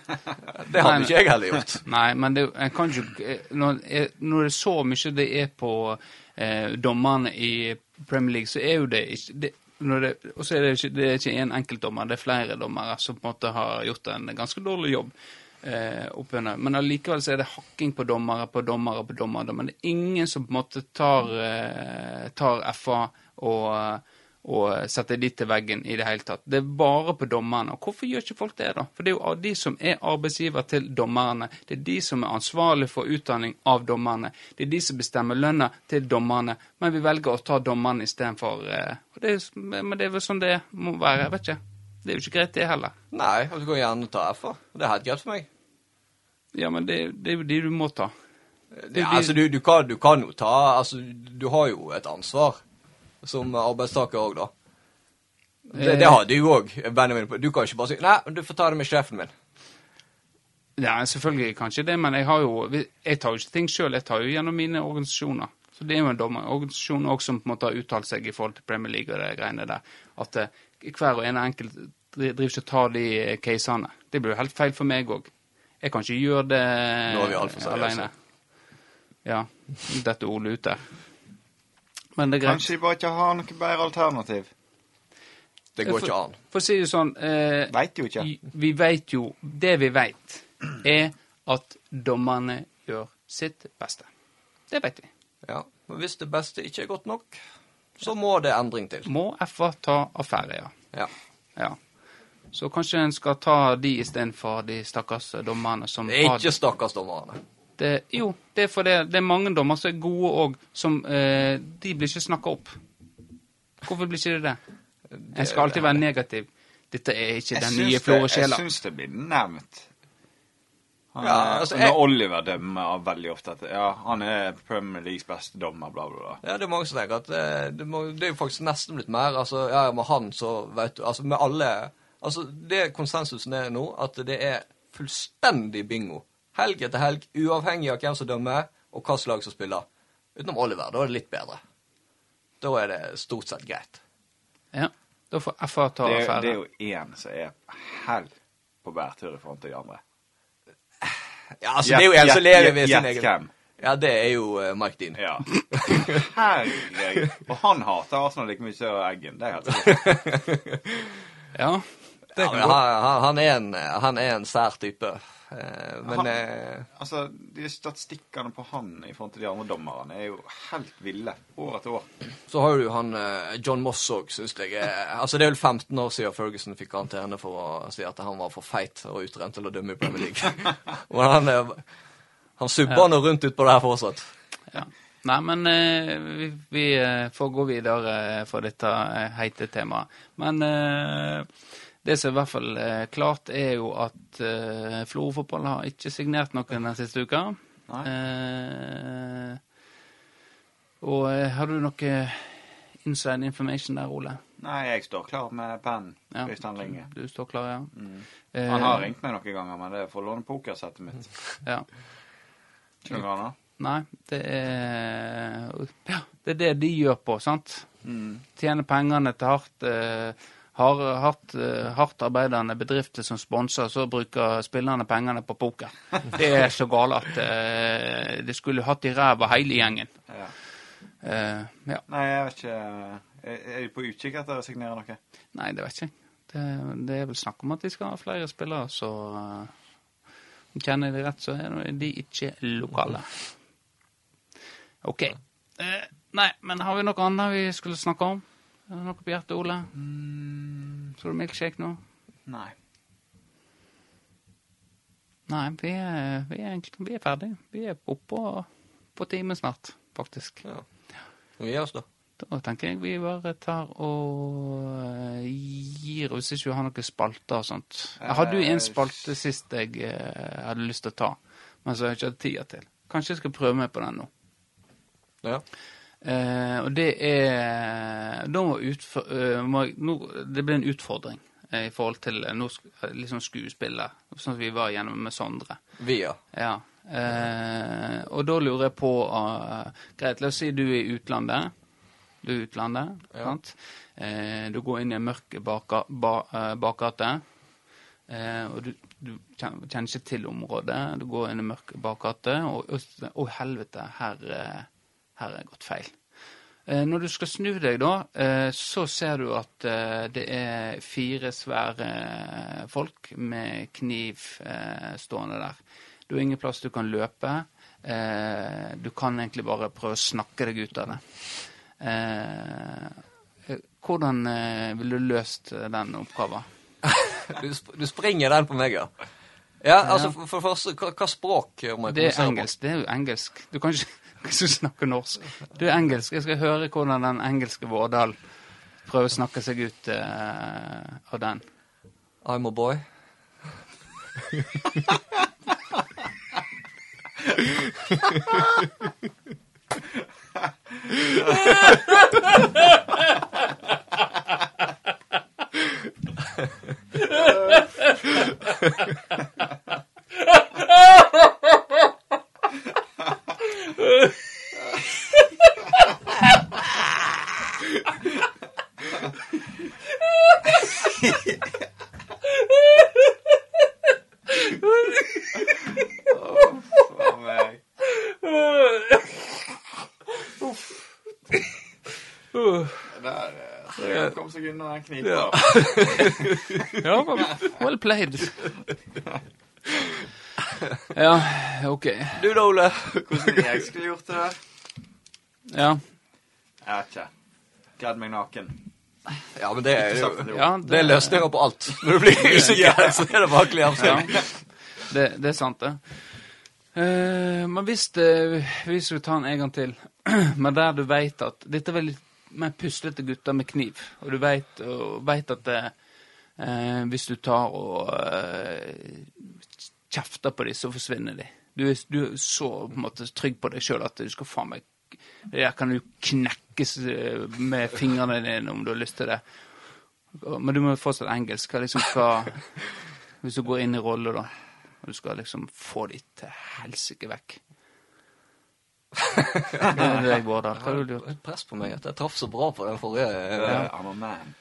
Speaker 3: Det hadde
Speaker 1: Nei,
Speaker 3: ikke jeg heller gjort.
Speaker 1: Nei, men det, jeg kan ikke eh, når, eh, når det er så mye det er på eh, dommerne i Premier League, så er jo det ikke det, når det, Og så er det ikke, det er ikke én enkeltdommer, det er flere dommere som på en måte har gjort en ganske dårlig jobb. Eh, oppunder. Men allikevel så er det hakking på dommere på dommere på dommere. Men det er ingen som på en måte tar, eh, tar FA og, og setter de eh, til veggen i det hele tatt. Det er bare på dommerne. Og hvorfor gjør ikke folk det, da? For det er jo de som er arbeidsgiver til dommerne. Det er de som er ansvarlig for utdanning av dommerne. Det er de som bestemmer lønna til dommerne. Men vi velger å ta dommerne istedenfor. Eh, og det er, jo- men det er vel sånn det må være, jeg vet ikke. Det er jo ikke greit, det heller.
Speaker 3: Nei, og du kan gjerne ta F-a. Det er helt greit for meg.
Speaker 1: Ja, men det, det er jo de du må ta. Det-
Speaker 3: Ja, altså, du, du, kan, du kan jo ta Altså, du har jo et ansvar som arbeidstaker òg, da. Det, det har du òg, Benjamin. Du kan ikke bare si 'Nei, du får ta det med sjefen min'.
Speaker 1: Ja, selvfølgelig kan ikke det, men jeg, har jo, jeg tar jo ikke ting sjøl. Jeg tar jo gjennom mine organisasjoner. Så Det er jo en dommerorganisasjon også som på en måte har uttalt seg i forhold til Premier League og de greiene der. At eh, hver og en enkelt dri- driver ikke og tar de eh, casene. Det blir jo helt feil for meg òg. Jeg kan ikke gjøre det eh,
Speaker 3: Nå er vi alt for seriøse.
Speaker 1: alene. Ja. Dette Ole ute. Men det er greit.
Speaker 4: Kanskje de bare ikke har noe bedre alternativ.
Speaker 3: Det går ikke an.
Speaker 1: Eh, For å si det sånn eh,
Speaker 4: Veit jo ikke.
Speaker 1: i- Vi veit jo Det vi veit, er at dommerne gjør sitt beste. Det veit vi.
Speaker 3: Ja. Men hvis det beste ikke er godt nok, så må det endring til.
Speaker 1: Må FA ta affære, ja.
Speaker 3: Ja.
Speaker 1: ja. Så kanskje en skal ta de istedenfor de stakkars dommerne som
Speaker 3: Det er
Speaker 1: har
Speaker 3: Ikke stakkars dommerne.
Speaker 1: det. Jo, det er fordi det er mange dommer som er gode òg, som eh, De blir ikke snakka opp. Hvorfor blir ikke det det? En skal alltid være negativ. Dette er ikke den nye Flore
Speaker 4: det, jeg
Speaker 1: Sjela.
Speaker 4: syns det blir nevnt. Han,
Speaker 3: Ja,
Speaker 4: er-
Speaker 3: altså,
Speaker 4: når
Speaker 3: jeg-
Speaker 4: Oliver dømmer er veldig ofte at ja, han er Premier Leagues beste dommer, bla, bla, bla.
Speaker 3: Ja, det er mange som tenker at det, det, må, det er jo faktisk nesten blitt mer. Altså, ja, med han så vet du Altså, med alle Altså, det konsensusen er nå, at det er fullstendig bingo. Helg etter helg, uavhengig av hvem som dømmer, og hvilket lag som spiller. Utenom Oliver, da er det litt bedre. Da er det stort sett greit.
Speaker 1: Ja, da får FA ta
Speaker 4: Det, er-
Speaker 1: affære.
Speaker 4: det er jo én som er hell på bærtur i forhold til de andre.
Speaker 3: Ja, altså, det er jo en som lever ved sin
Speaker 4: Gjett
Speaker 3: egen
Speaker 4: hvem.
Speaker 3: Ja, det er jo eh, Mike Dean.
Speaker 4: Ja. Herregud. Og han hater Arsenal like mye som Eggen. Det er helt sikkert.
Speaker 1: Ja.
Speaker 3: Ja, men han, han, han, er en, han er en sær type. Eh, Men
Speaker 4: Han-
Speaker 3: eh,
Speaker 4: Altså, de statistikkene på han i forhold til de andre dommerne er jo helt ville. År etter år.
Speaker 3: Så har du han eh, John Moss òg, syns jeg. er- Altså, det er vel 15 år siden Ferguson fikk karantene for å si at han var for feit og utrent til å dømme i Premier League. Men han, eh, han subber nå rundt utpå det her fortsatt.
Speaker 1: ja. Nei, men eh, vi, vi eh, får gå videre eh, fra dette eh, heite temaet. Men eh, det som er i hvert fall eh, klart, er jo at eh, Florø fotball har ikke signert noen den siste uka. Eh, og eh, har du noe inside information der, Ole?
Speaker 4: Nei, jeg står klar med pennen.
Speaker 1: Ja.
Speaker 4: Hvis han ringer.
Speaker 1: Du står klar, ja? Eh,
Speaker 4: Mm. Han har ringt meg noen ganger, men det er for å låne pokersettet mitt.
Speaker 1: Ja.
Speaker 4: Skjønner du hva han har?
Speaker 1: Nei, det er ja, Det er det de gjør på, sant? Tjener pengene til hardt, eh, har, hardt, eh, hardt arbeidende bedrifter som sponser, så bruker spillerne pengene på poker. Det er så gale at eh, det skulle hatt i ræva hele gjengen.
Speaker 4: Ja.
Speaker 1: Eh, ja.
Speaker 4: Nei, jeg vet ikke
Speaker 2: eh,
Speaker 4: Er er de på utkikk etter å signere noe?
Speaker 1: Nei, det vet jeg ikke. Det, det er vel snakk om at de skal ha flere spillere, så eh, om jeg kjenner de rett, så er nå de ikke lokale. OK. Eh, nei, men har vi noe annet vi skulle snakke om? Er det noe på hjertet, Ole? Skal du milkshake nå?
Speaker 4: Nei.
Speaker 1: Nei, vi er, vi er egentlig vi er ferdige. Vi er oppå på timen snart, faktisk.
Speaker 3: Ja. Skal vi gi oss, da?
Speaker 1: Da tenker jeg vi bare tar og eh, gir oss hvis vi har noen spalter og sånt. Jeg hadde jo en spalte sist jeg eh, hadde lyst til å ta, men som jeg ikke hadde tida til. Kanskje jeg skal prøve meg på den nå.
Speaker 3: Ja.
Speaker 1: Eh, og det er Da må, utf- eh, må jeg, nå, Det blir en utfordring eh, i forhold til eh, nå, sk- liksom skuespillet, sånn som vi var gjennom med Sondre.
Speaker 3: Via.
Speaker 1: Ja. Eh, og da lurer jeg på eh, Greit, la oss si du er i utlandet. Du er i utlandet.
Speaker 3: Ja.
Speaker 1: sant? Eh, du går inn i en mørk bakga- ba- eh, bakgate. Eh, og du, du kjen- kjenner ikke til området. Du går inn i en mørk bakgate, og og- å helvete, her, eh, her er gått feil. Eh, når du skal snu deg, da, eh, så ser du at eh, det er fire svære folk med kniv eh, stående der. Du har ingen plass du kan løpe. Eh, du kan egentlig bare prøve å snakke deg ut av det. Eh, eh, hvordan eh, ville du løst eh, den oppgaven?
Speaker 3: Du, sp du springer den på meg, ja. Ja, altså, for, for det første, hva, hva språk eh, må jeg
Speaker 1: Det er
Speaker 3: kommunisere
Speaker 1: engelsk. Det er
Speaker 3: på?
Speaker 1: jo engelsk. Du kan ikke, kan ikke snakke norsk. Du er engelsk. Jeg skal høre hvordan den engelske Vårdal prøver å snakke seg ut eh, av den.
Speaker 3: I'm a boy.
Speaker 2: Faen meg. Der eh, så jeg kom seg unna den knipa.
Speaker 1: Ja, well, well played. Ja, OK.
Speaker 3: Du da, Ole?
Speaker 2: Hvordan jeg skulle gjort det der?
Speaker 1: Ja,
Speaker 2: Jeg vet ikke. Kledd meg naken.
Speaker 3: Ja, men det er jo
Speaker 1: ja
Speaker 3: Det er løsninger på alt. Når du blir usikker, så er det bare å kle av seg.
Speaker 1: Ja. Det, det er sant, det. Eh, men hvis det, vi skulle ta den en gang til, men der du veit at Dette er vel litt mer puslete gutter med kniv, og du veit at det, eh, hvis du tar og eh, kjefter på dem, så forsvinner de. Du, er- du er så på en måte trygg på deg sjøl at du skal faen meg Det der kan du knekkes eh, med fingrene dine om du har lyst til det. Men du må jo fortsatt engelsk. Hva liksom hva hvis du går inn i rolle, da. Og du skal liksom få de til helsike vekk. Det er det jeg går der. Hva ville du gjort?
Speaker 3: Et press på meg at jeg traff så bra på den forrige
Speaker 2: Eh,
Speaker 3: eh,
Speaker 2: I'm a man.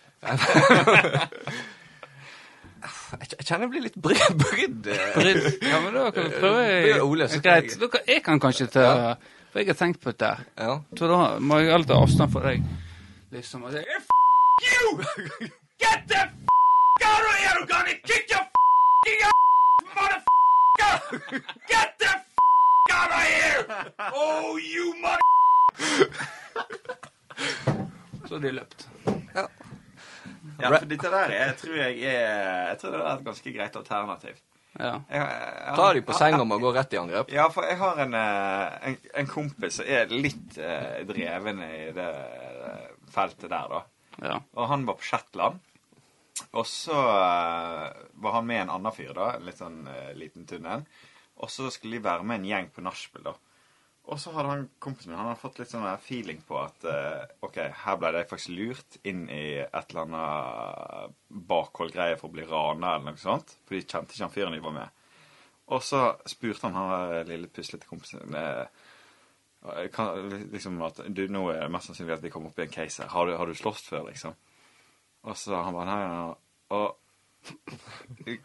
Speaker 3: Jeg jeg kjenner jeg blir litt bry- brydd. eh.
Speaker 1: Ja, men da kan vi prøve.
Speaker 3: Det er Ole, så kan
Speaker 1: Greit.
Speaker 3: jeg-
Speaker 1: Dere, jeg kan kanskje ta
Speaker 3: Ja.
Speaker 1: For jeg har tenkt på dette. her.
Speaker 3: Ja.
Speaker 1: Så da må jeg alltid ta avstand fra deg. Liksom og si F you! Get the f out of here! I'm gonna kick your f***ing ass, motherfucker! Get the f out of here! Oh, you mother... Så de løpt.
Speaker 2: Ja, for dette der er, jeg tror jeg er Jeg tror det er et ganske greit alternativ.
Speaker 1: Ja.
Speaker 2: Jeg, jeg,
Speaker 3: Ta dem på senga med å gå rett i angrep.
Speaker 2: Ja, for jeg har en, eh, en, en kompis som er litt eh, dreven i det eh, feltet der, da.
Speaker 1: ja.
Speaker 2: Og han var på Shetland. Og så eh, var han med en annen fyr, da. En litt sånn eh, liten tynn en. Og så skulle de være med en gjeng på nachspiel, da. Og så hadde han kompisen min han hadde fått litt sånn der feeling på at eh, OK, her ble de faktisk lurt inn i et eller annet bakholdgreie for å bli rana eller noe sånt. For de kjente ikke han fyren de var med. Og så spurte han han der lille puslete kompisen min eh, kan, liksom at du, nå er det mest sannsynlig at de kommer opp i en case her. Har du, har du slåss før, liksom? Og så han bare nei, nei, nei. Og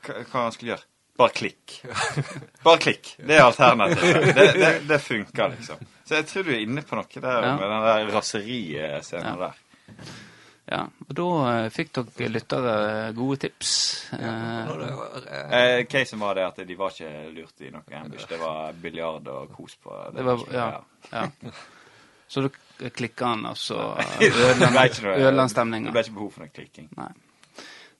Speaker 2: hva hva han skulle gjøre? Bare klikk. Bare klikk. Det er alternativet. Det, det, det funker, liksom. Så jeg tror du er inne på noe der
Speaker 1: Ja.
Speaker 2: med den der raseriscenen der.
Speaker 1: ja. Og da eh, fikk dere lyttere gode tips. Eh,
Speaker 3: Når det- eh,
Speaker 2: Eh, casen var det at de var ikke lurt i noe ambush. Det var biljard og kos på.
Speaker 1: det var Ja. ja. Så dere klikka den, og så eh,
Speaker 2: Det ble ikke noe-
Speaker 1: ødela den stemninga.
Speaker 2: Det ble ikke behov for noe klikking.
Speaker 1: Nei.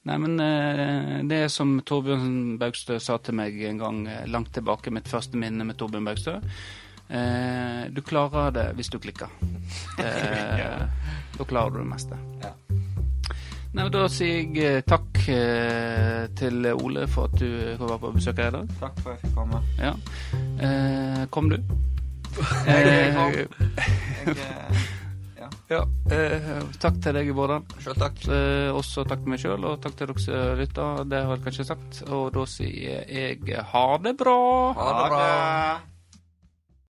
Speaker 1: Nei, men eh, det er som Torbjørn Baugstø sa til meg en gang eh, langt tilbake, mitt første minne med Torbjørn Baugstø. Eh, du klarer det hvis du klikker. Eh, da klarer du det meste. Nei, men da sier jeg eh, takk eh, til Ole for at du kom på besøk her i dag.
Speaker 2: Takk for at jeg fikk komme.
Speaker 1: Ja. Eh, kom du?
Speaker 2: Jeg kom.
Speaker 1: Eh,
Speaker 2: Jeg, eh,
Speaker 1: ja. eh, takk til deg, Bårdan.
Speaker 3: Sjøl takk.
Speaker 1: Eh, også takk til meg sjøl, og takk til dere som lytter. Det har jeg kanskje sagt. Og da sier jeg ha det bra.
Speaker 3: Ha det bra.
Speaker 2: Ha det.